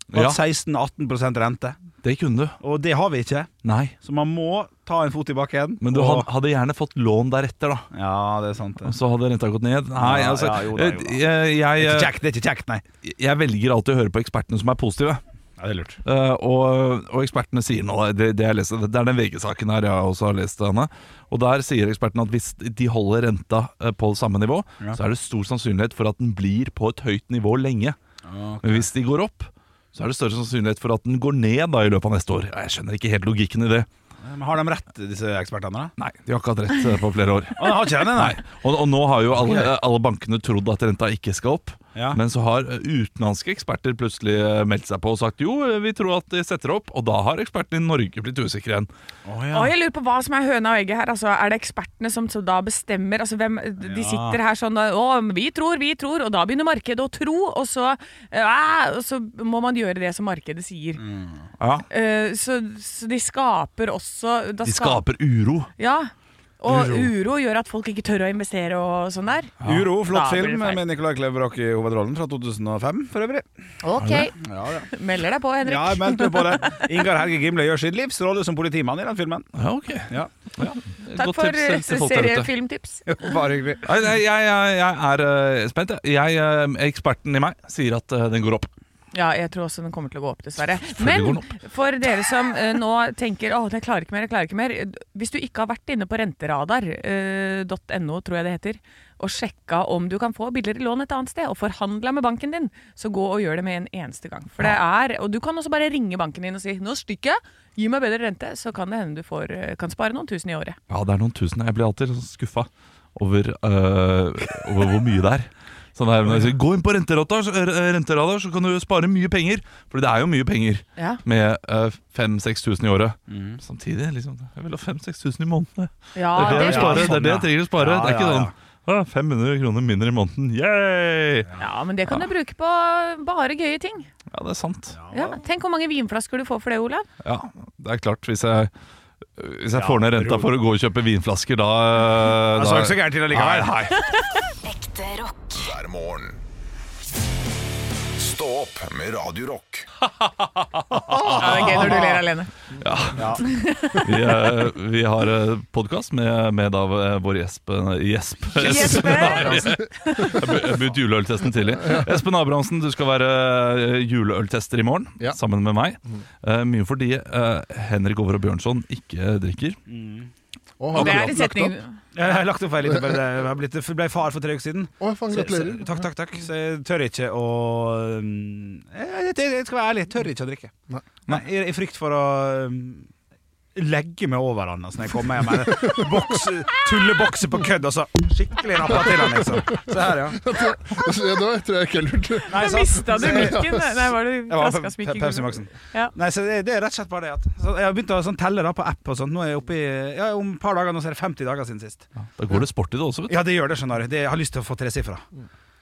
Og Ja, hatt 16-18 rente. det kunne du. Og det har vi ikke. Nei. Så man må ta en fot i bakken. Men du og, had- hadde gjerne fått lån deretter, da. Ja, det er sant. Det. Og så hadde renta gått ned? Nei, Ja, altså ja, jo da, jo da. Jeg, Det er ikke jeg, kjekt, det er ikke kjekt, nei. jeg velger alltid å høre på ekspertene som er positive. Ja, det er lurt. Eh, og, og ekspertene sier nå Det, det, jeg leste, det er den VG-saken her jeg også har lest. Anne. Og Der sier ekspertene at hvis de holder renta eh, på samme nivå, Ja. så er det stor sannsynlighet for at den blir på et høyt nivå lenge. Men hvis de går opp, så er det større sannsynlighet for at den går ned da i løpet av neste år. Jeg skjønner ikke helt logikken i det. Men har de rett, disse ekspertene? da? Nei, De har ikke hatt rett eh, på flere år. Å, de har ikke det, nei. Og, og nå har jo alle, alle bankene trodd at renta ikke skal opp. Ja. Men så har eh, utenlandske eksperter plutselig eh, meldt seg på og sagt jo, eh, vi tror at de setter opp. Og da har ekspertene i Norge blitt usikre igjen. <laughs> Å, ja. Og jeg lurer på hva som er høna og egget her. Altså, er det ekspertene som så da bestemmer? Altså, hvem, de Ja. sitter her sånn Å, vi tror, vi tror, og da begynner markedet å tro, og så, eh, og så må man gjøre det som markedet sier. Ja. Eh, så, så de skaper også da De skap- skaper uro. Ja. Og uro. gjør at folk ikke tør å investere og sånn der. Uro, flott Da blir det film feil. med Nicolai Kleverbrok i hovedrollen fra 2005 for øvrig. Ok, Ja, ja. melder deg på, Henrik. ja jeg meldte meg på det. Ingar Helge Gimle gjør sitt livs rolle som politimann i den filmen. Ja, ok. Ja. Takk Godt for tips til- eh, til folk der ute. seriefilmtips. <laughs> Bare hyggelig. Nei, nei, Jeg, jeg, jeg er eh, spent. jeg. Jeg, eh, eksperten i meg sier at eh, den går opp. Ja, jeg tror også den kommer til å gå opp, dessverre. går Men den for dere som eh, nå tenker åh, jeg klarer ikke mer, jeg klarer ikke mer. Hvis du ikke har vært inne på eh, renteradar.no, tror jeg det heter, og sjekka om du kan få billigere lån et annet sted, og forhandla med banken din, så gå og gjør det med en eneste gang. For det er, Og du kan også bare ringe banken din og si 'nå stikker jeg, gi meg bedre rente', så kan det hende du får, eh, kan spare noen tusen i året. Ja, det er noen tusen. Jeg blir alltid sånn skuffa over, øh, over hvor mye det er. Sånn der, når jeg sier, Gå inn på renteradar, så- øh, renteradar, så kan du spare mye penger. For det er jo mye penger Ja. med øh, 5000-6000 i året. Mhm. Samtidig liksom, jeg vil ha 5000-6000 i måneden. Ja, Det er det det jeg, er sparer, det er sånn, det jeg ja. trenger å spare. Ja, det er ikke ja, ja. sånn «Å, 500 kroner mindre i måneden. Yay! Ja, men det kan du bruke på bare gøye ting. Ja, det er sant. Ja, tenk hvor mange vinflasker du får for det, Olav. Ja, det er klart. Hvis jeg, hvis jeg Ja, får ned renta ro. for å gå og kjøpe vinflasker, da, øh, Det da så ikke så gærent til Nei, allikevel. nei. Ekte rock. hver morgen. Stå opp med Radio Rock. Ja, det er gøy når du ler alene. Vi, eh, vi har eh, podcast med, med da eh, vår Jespen <laughs> Jespen, Espen Abrahamsen. Jeg be- Jeg begynte juleøltesten tidlig. Espen Abrahamsen, du skal være eh, juleøltester i morgen Ja. sammen med meg. Mm. Eh, mye fordi eh, Henrik Over og Bjørnson ikke drikker. Og har Det er akkurat en lagt setning opp. <laughs> Jeg har lagt opp feil litt. bare det. Jeg har blitt- jeg ble far for tre uker siden. Å, faen, Så, så, gratulerer. <laughs> takk, takk, takk. Så jeg tør ikke å um, jeg, jeg, jeg skal være ærlig, jeg tør ikke å drikke. Nei. Nei, I, I frykt for å um, legge meg over han altså, når jeg kommer hjem. Eller boks, tullebokse på kødd, og så skikkelig rappa til han, liksom. Se <laughs> her, ja. Så, ja, det var- tror jeg ikke er lurt. Nei, Da sant? mista du mikken. Nei, var det Jeg var flaska Pe- som gikk i Pe- Pepsi gulvet? Maxen. Ja. Nei, så det, det er rett og slett bare det. At, så jeg har begynt å sånn, telle da, på app og sånt. Nå er jeg oppe i, ja, om et par dager nå så er det 50 dager siden sist. Da går det sport i det også, vet du. Ja, det gjør det, skjønner du. Det, jeg har lyst til å få tresifra.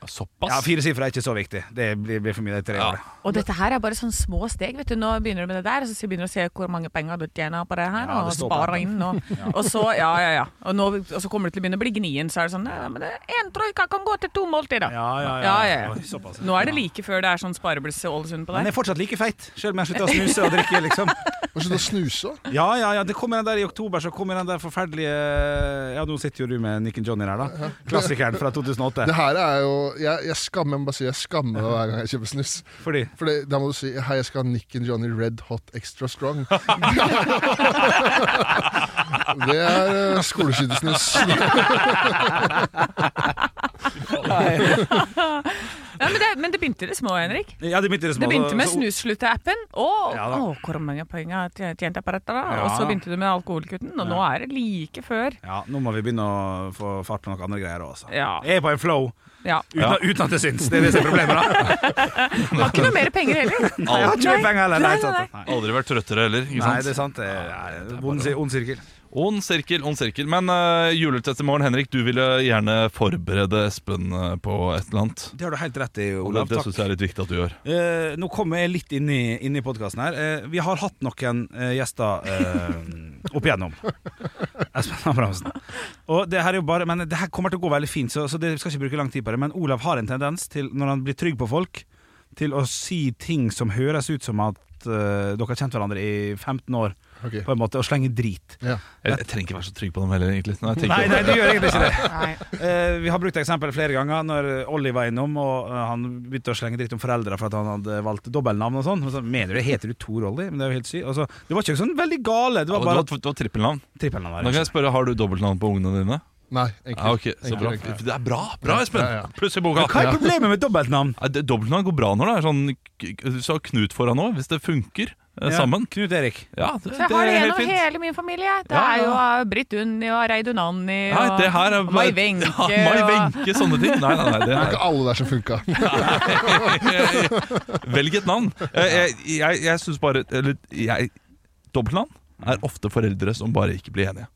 Såpass. Ja, Firesifra er ikke så viktig. Det blir, blir for mye. Det er tre Ja. år. Og dette her er bare sånn små steg. vet du Nå begynner du med det der, og så begynner du å se hvor mange penger du tjener på det her. Ja, og det står på sparer det. inn og, og så ja, ja, ja. Og, nå, og så kommer du til å begynne å bli gnien. Så er det sånn ja, men det, En troika kan gå til to måltider. Ja, ja, ja. Ja, ja, ja. Oi, såpass, ja. Nå er det like før det er sånn sparebluss i Ålesund på Men deg. jeg er fortsatt like feit, selv om jeg slutter å snuse og drikke. liksom Og slutt å snuse. da. Ja, ja, ja, det kommer den der i oktober, så kommer den der forferdelige Ja, nå sitter jo du med Nick and Johnny der, da. Klassikeren fra 2008. Det her er jo Jeg, jeg skammer jeg må bare si, jeg skammer meg hver gang jeg kjøper snus. Fordi For det, da må du si Hei, jeg skal ha Nick and Johnny Red Hot Extra <laughs> Strong. det er eh, skoleskytesnus. Ja, men, det, men det begynte i det små, Henrik. Ja, det begynte i det små. Det begynte med så- snusslutte-appen. Å, Ja da. å, hvor mange penger tj- tjente jeg på dette? da? Ja. Og så begynte du med alkoholkutten, og nå er det like før. Ja, nå må vi begynne å få fart på noen andre greier òg, altså. Ja. Jeg er på en flow Ja. uten, uten at det syns. Det er det som er problemet, da. Har ikke noe mer penger heller. Jeg har ikke Nei. mye penger heller. Nei, Nei, nei, sant? Nei. Aldri vært trøttere heller. ikke Nei, sant? det er sant. Det er en vond sir- ond sirkel. Ond sirkel, ond sirkel. Men uh, juletest i morgen, Henrik, du ville gjerne forberede Espen eh, på et eller annet. Det har du helt rett i, Og Olav. det det Takk. syns jeg er litt viktig at du gjør. Eh, nå kommer jeg litt inn i, inn i podkasten her. Eh, vi har hatt noen eh, gjester eh, <laughs> opp igjennom. Espen Abrahamsen. Og det her er jo bare Men det her kommer til å gå veldig fint, så, så det, vi skal ikke bruke lang tid på det. Men Olav har en tendens til, når han blir trygg på folk, til å si ting som høres ut som at eh, dere har kjent hverandre i 15 år, Ok. på en måte, og slenge drit. Ja. Jeg, jeg trenger ikke være så trygg på dem heller, egentlig. Når jeg tenker Nei, over nei, det. du gjør egentlig ikke det. Nei. Eh, vi har brukt eksempel flere ganger når Olli var innom og eh, han begynte å slenge dritt om foreldre for at han hadde valgt dobbeltnavn og sånn. Og så, Mener du det? Heter du Tor Olli? Men det er jo helt sykt. Altså, det var ikke sånn veldig gale. Det Ja, var men du bare har, du har trippelnavn. trippelnavn. Da kan jeg spørre, Har du dobbeltnavn på ungene dine? Nei, enkelt. Ja, ok, så Enkelt, bra enkelt. Det er bra, bra Espen! Ja, ja. Pluss i boka. Hva er problemet med dobbeltnavn? Ja, det- Dobbeltnavn går bra når det er sånn k- k- Du sa Knut foran òg, hvis det funker eh, sammen. Ja, Knut Erik. Ja, det, Så jeg det har det er helt gjennom fint. hele min familie. Det Ja, er jo ja. uh, Britt Unni og Reid Unani Nei, og, det her er og Mai Wenche. <laughs> Ja, Mai og- Wenche, sånne ting. Nei, nei, nei, det Det er <laughs> er ikke alle der som funka. Velg et navn. Eh, Jeg, jeg, jeg syns bare Eller jeg Dobbeltnavn er ofte foreldre som bare ikke blir enige.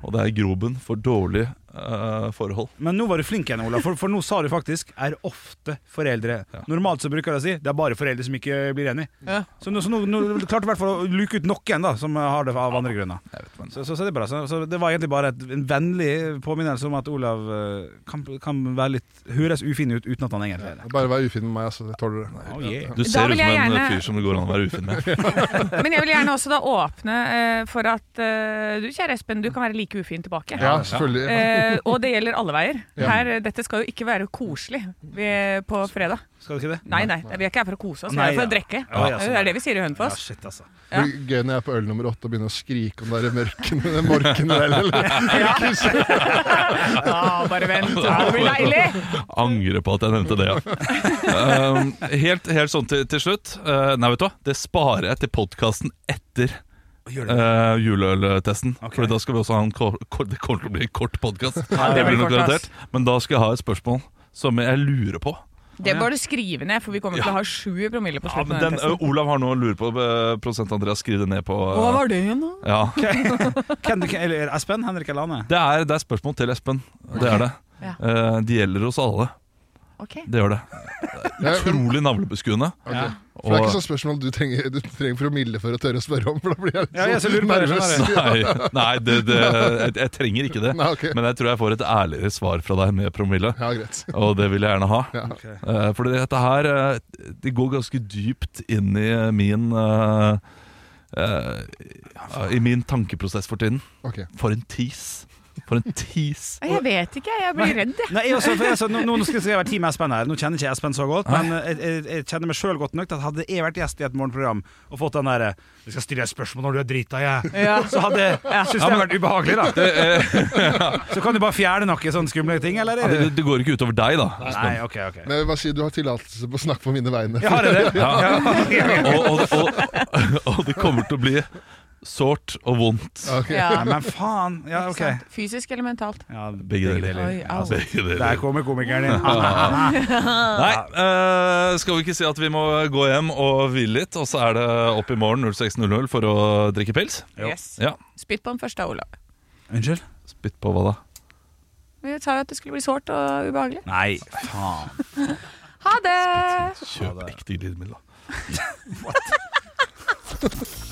Og det er grobunn for dårlig eh, forhold. Men nå var du flink igjen, Ola, for, for nå sa du faktisk 'er ofte foreldre'. Normalt så bruker jeg å si 'det er bare foreldre som ikke blir enig'. Ja. Så nå, så nå, nå klarte du i hvert fall å luke ut noen da, som har det av andre grunner. Så, så, så det er bra. Så, så det var egentlig bare et, en vennlig påminnelse om at Olav eh, kan, kan være litt, høres ufin ut uten at han egentlig er det. Bare vær ufin med meg, altså. Jeg tåler det. Oh, yeah. Du ser vil ut som en jeg eh, gjerne- fyr som det går an å være ufin med. Men jeg vil gjerne også da åpne eh, for at eh, du, kjære Espen, du kan være like ufin tilbake. Ja, selvfølgelig. Eh, og det gjelder alle veier. Ja. Her, eh, dette skal jo ikke være koselig vi, på fredag. Skal du ikke det? Nei, nei, vi er ikke her for å kose oss, vi er Nei, her for å ja. drikke. Ja, ja, sånn. Det er det vi sier i Ja, Hønefoss. shit, altså. Det blir gøy når jeg er på øl nummer åtte og begynner å skrike om det er mørken, den morken der, eller? Ja. bare vent, det blir deilig! Angrer på at jeg nevnte det, ja. <laughs> Um, helt, helt sånn til, til slutt. Eh, nei, vet du hva, det sparer jeg til podkasten etter <laughs> Gjør det. uh, juleøltesten. Ok. For da skal vi også ha en kor kor Det kommer til å bli en kort podkast. det blir kort, ass. Men da skal jeg ha et spørsmål som jeg lurer på. Det bør du skrive ned, for vi kommer til å ha sju promille på Ja, slutten. men av den, den testen. ø, Olav har noe å lure på. ø, Prosent Andreas, skriv det ned på ø, Hva var det igjen, da? ja. Ken, eller Espen? Henrik eller Anne? det, er, det er spørsmål til Espen. Det er det. Ja. Eh, Det gjelder hos alle. Ok. Det gjør det. <laughs> Eh, Ja, men- Utrolig navlebeskuende. Ja. For det er ikke Og- sånn spørsmål du trenger, du trenger promille for å tørre å spørre om, for da blir jeg litt Ja, jeg så lurer sånn på det, nervøs. skjønner Nei, nei det, det, jeg, jeg trenger ikke det. Nei, ok. Men jeg tror jeg får et ærligere svar fra deg med promille, Ja, greit. og det vil jeg gjerne ha. Ja. Eh, Fordi dette her eh, Det går ganske dypt inn i min eh, eh, I min tankeprosess for tiden. Ok. For en tis. For en tis. <laughs> Jeg vet ikke, jeg blir redd, <laughs> jeg. Nei, jeg også, for jeg, så, nå, nå skal jeg være team Espen her. Nå kjenner ikke jeg Espen så godt, men eh, jeg, jeg, jeg kjenner meg sjøl godt nok til at hadde jeg vært gjest i et morgenprogram og fått den derre 'Vi skal stille deg spørsmål når du er drita', jeg, Ja. så hadde jeg syntes det hadde vært ubehagelig, da. Så kan du bare fjerne noen sånne skumle ting, eller? Ja, Er det, det- det går ikke utover deg, da. Nei, OK, OK. Men jeg vil bare si du har tillatelse på å snakke på mine vegne. <laughs> Jeg har det. Ja. Og, og, og, og det kommer til å bli sårt og vondt. Ok. Ja, Nei, men faen! Ja, ikke OK. sant? Fysisk eller mentalt? Ja, Begge deler. Oi, au. Begge Der deler. kommer komikeren din. Nei, eh, skal vi ikke si at vi må gå hjem og hvile litt, og så er det opp i morgen 06.00 for å drikke pils? Yes. Ja. Spytt på den første, Olav. Unnskyld? Spytt på hva da? Vi sa jo at det skulle bli sårt og ubehagelig. Nei, faen. Ha det! Kjøp ekte glidemiddel, da.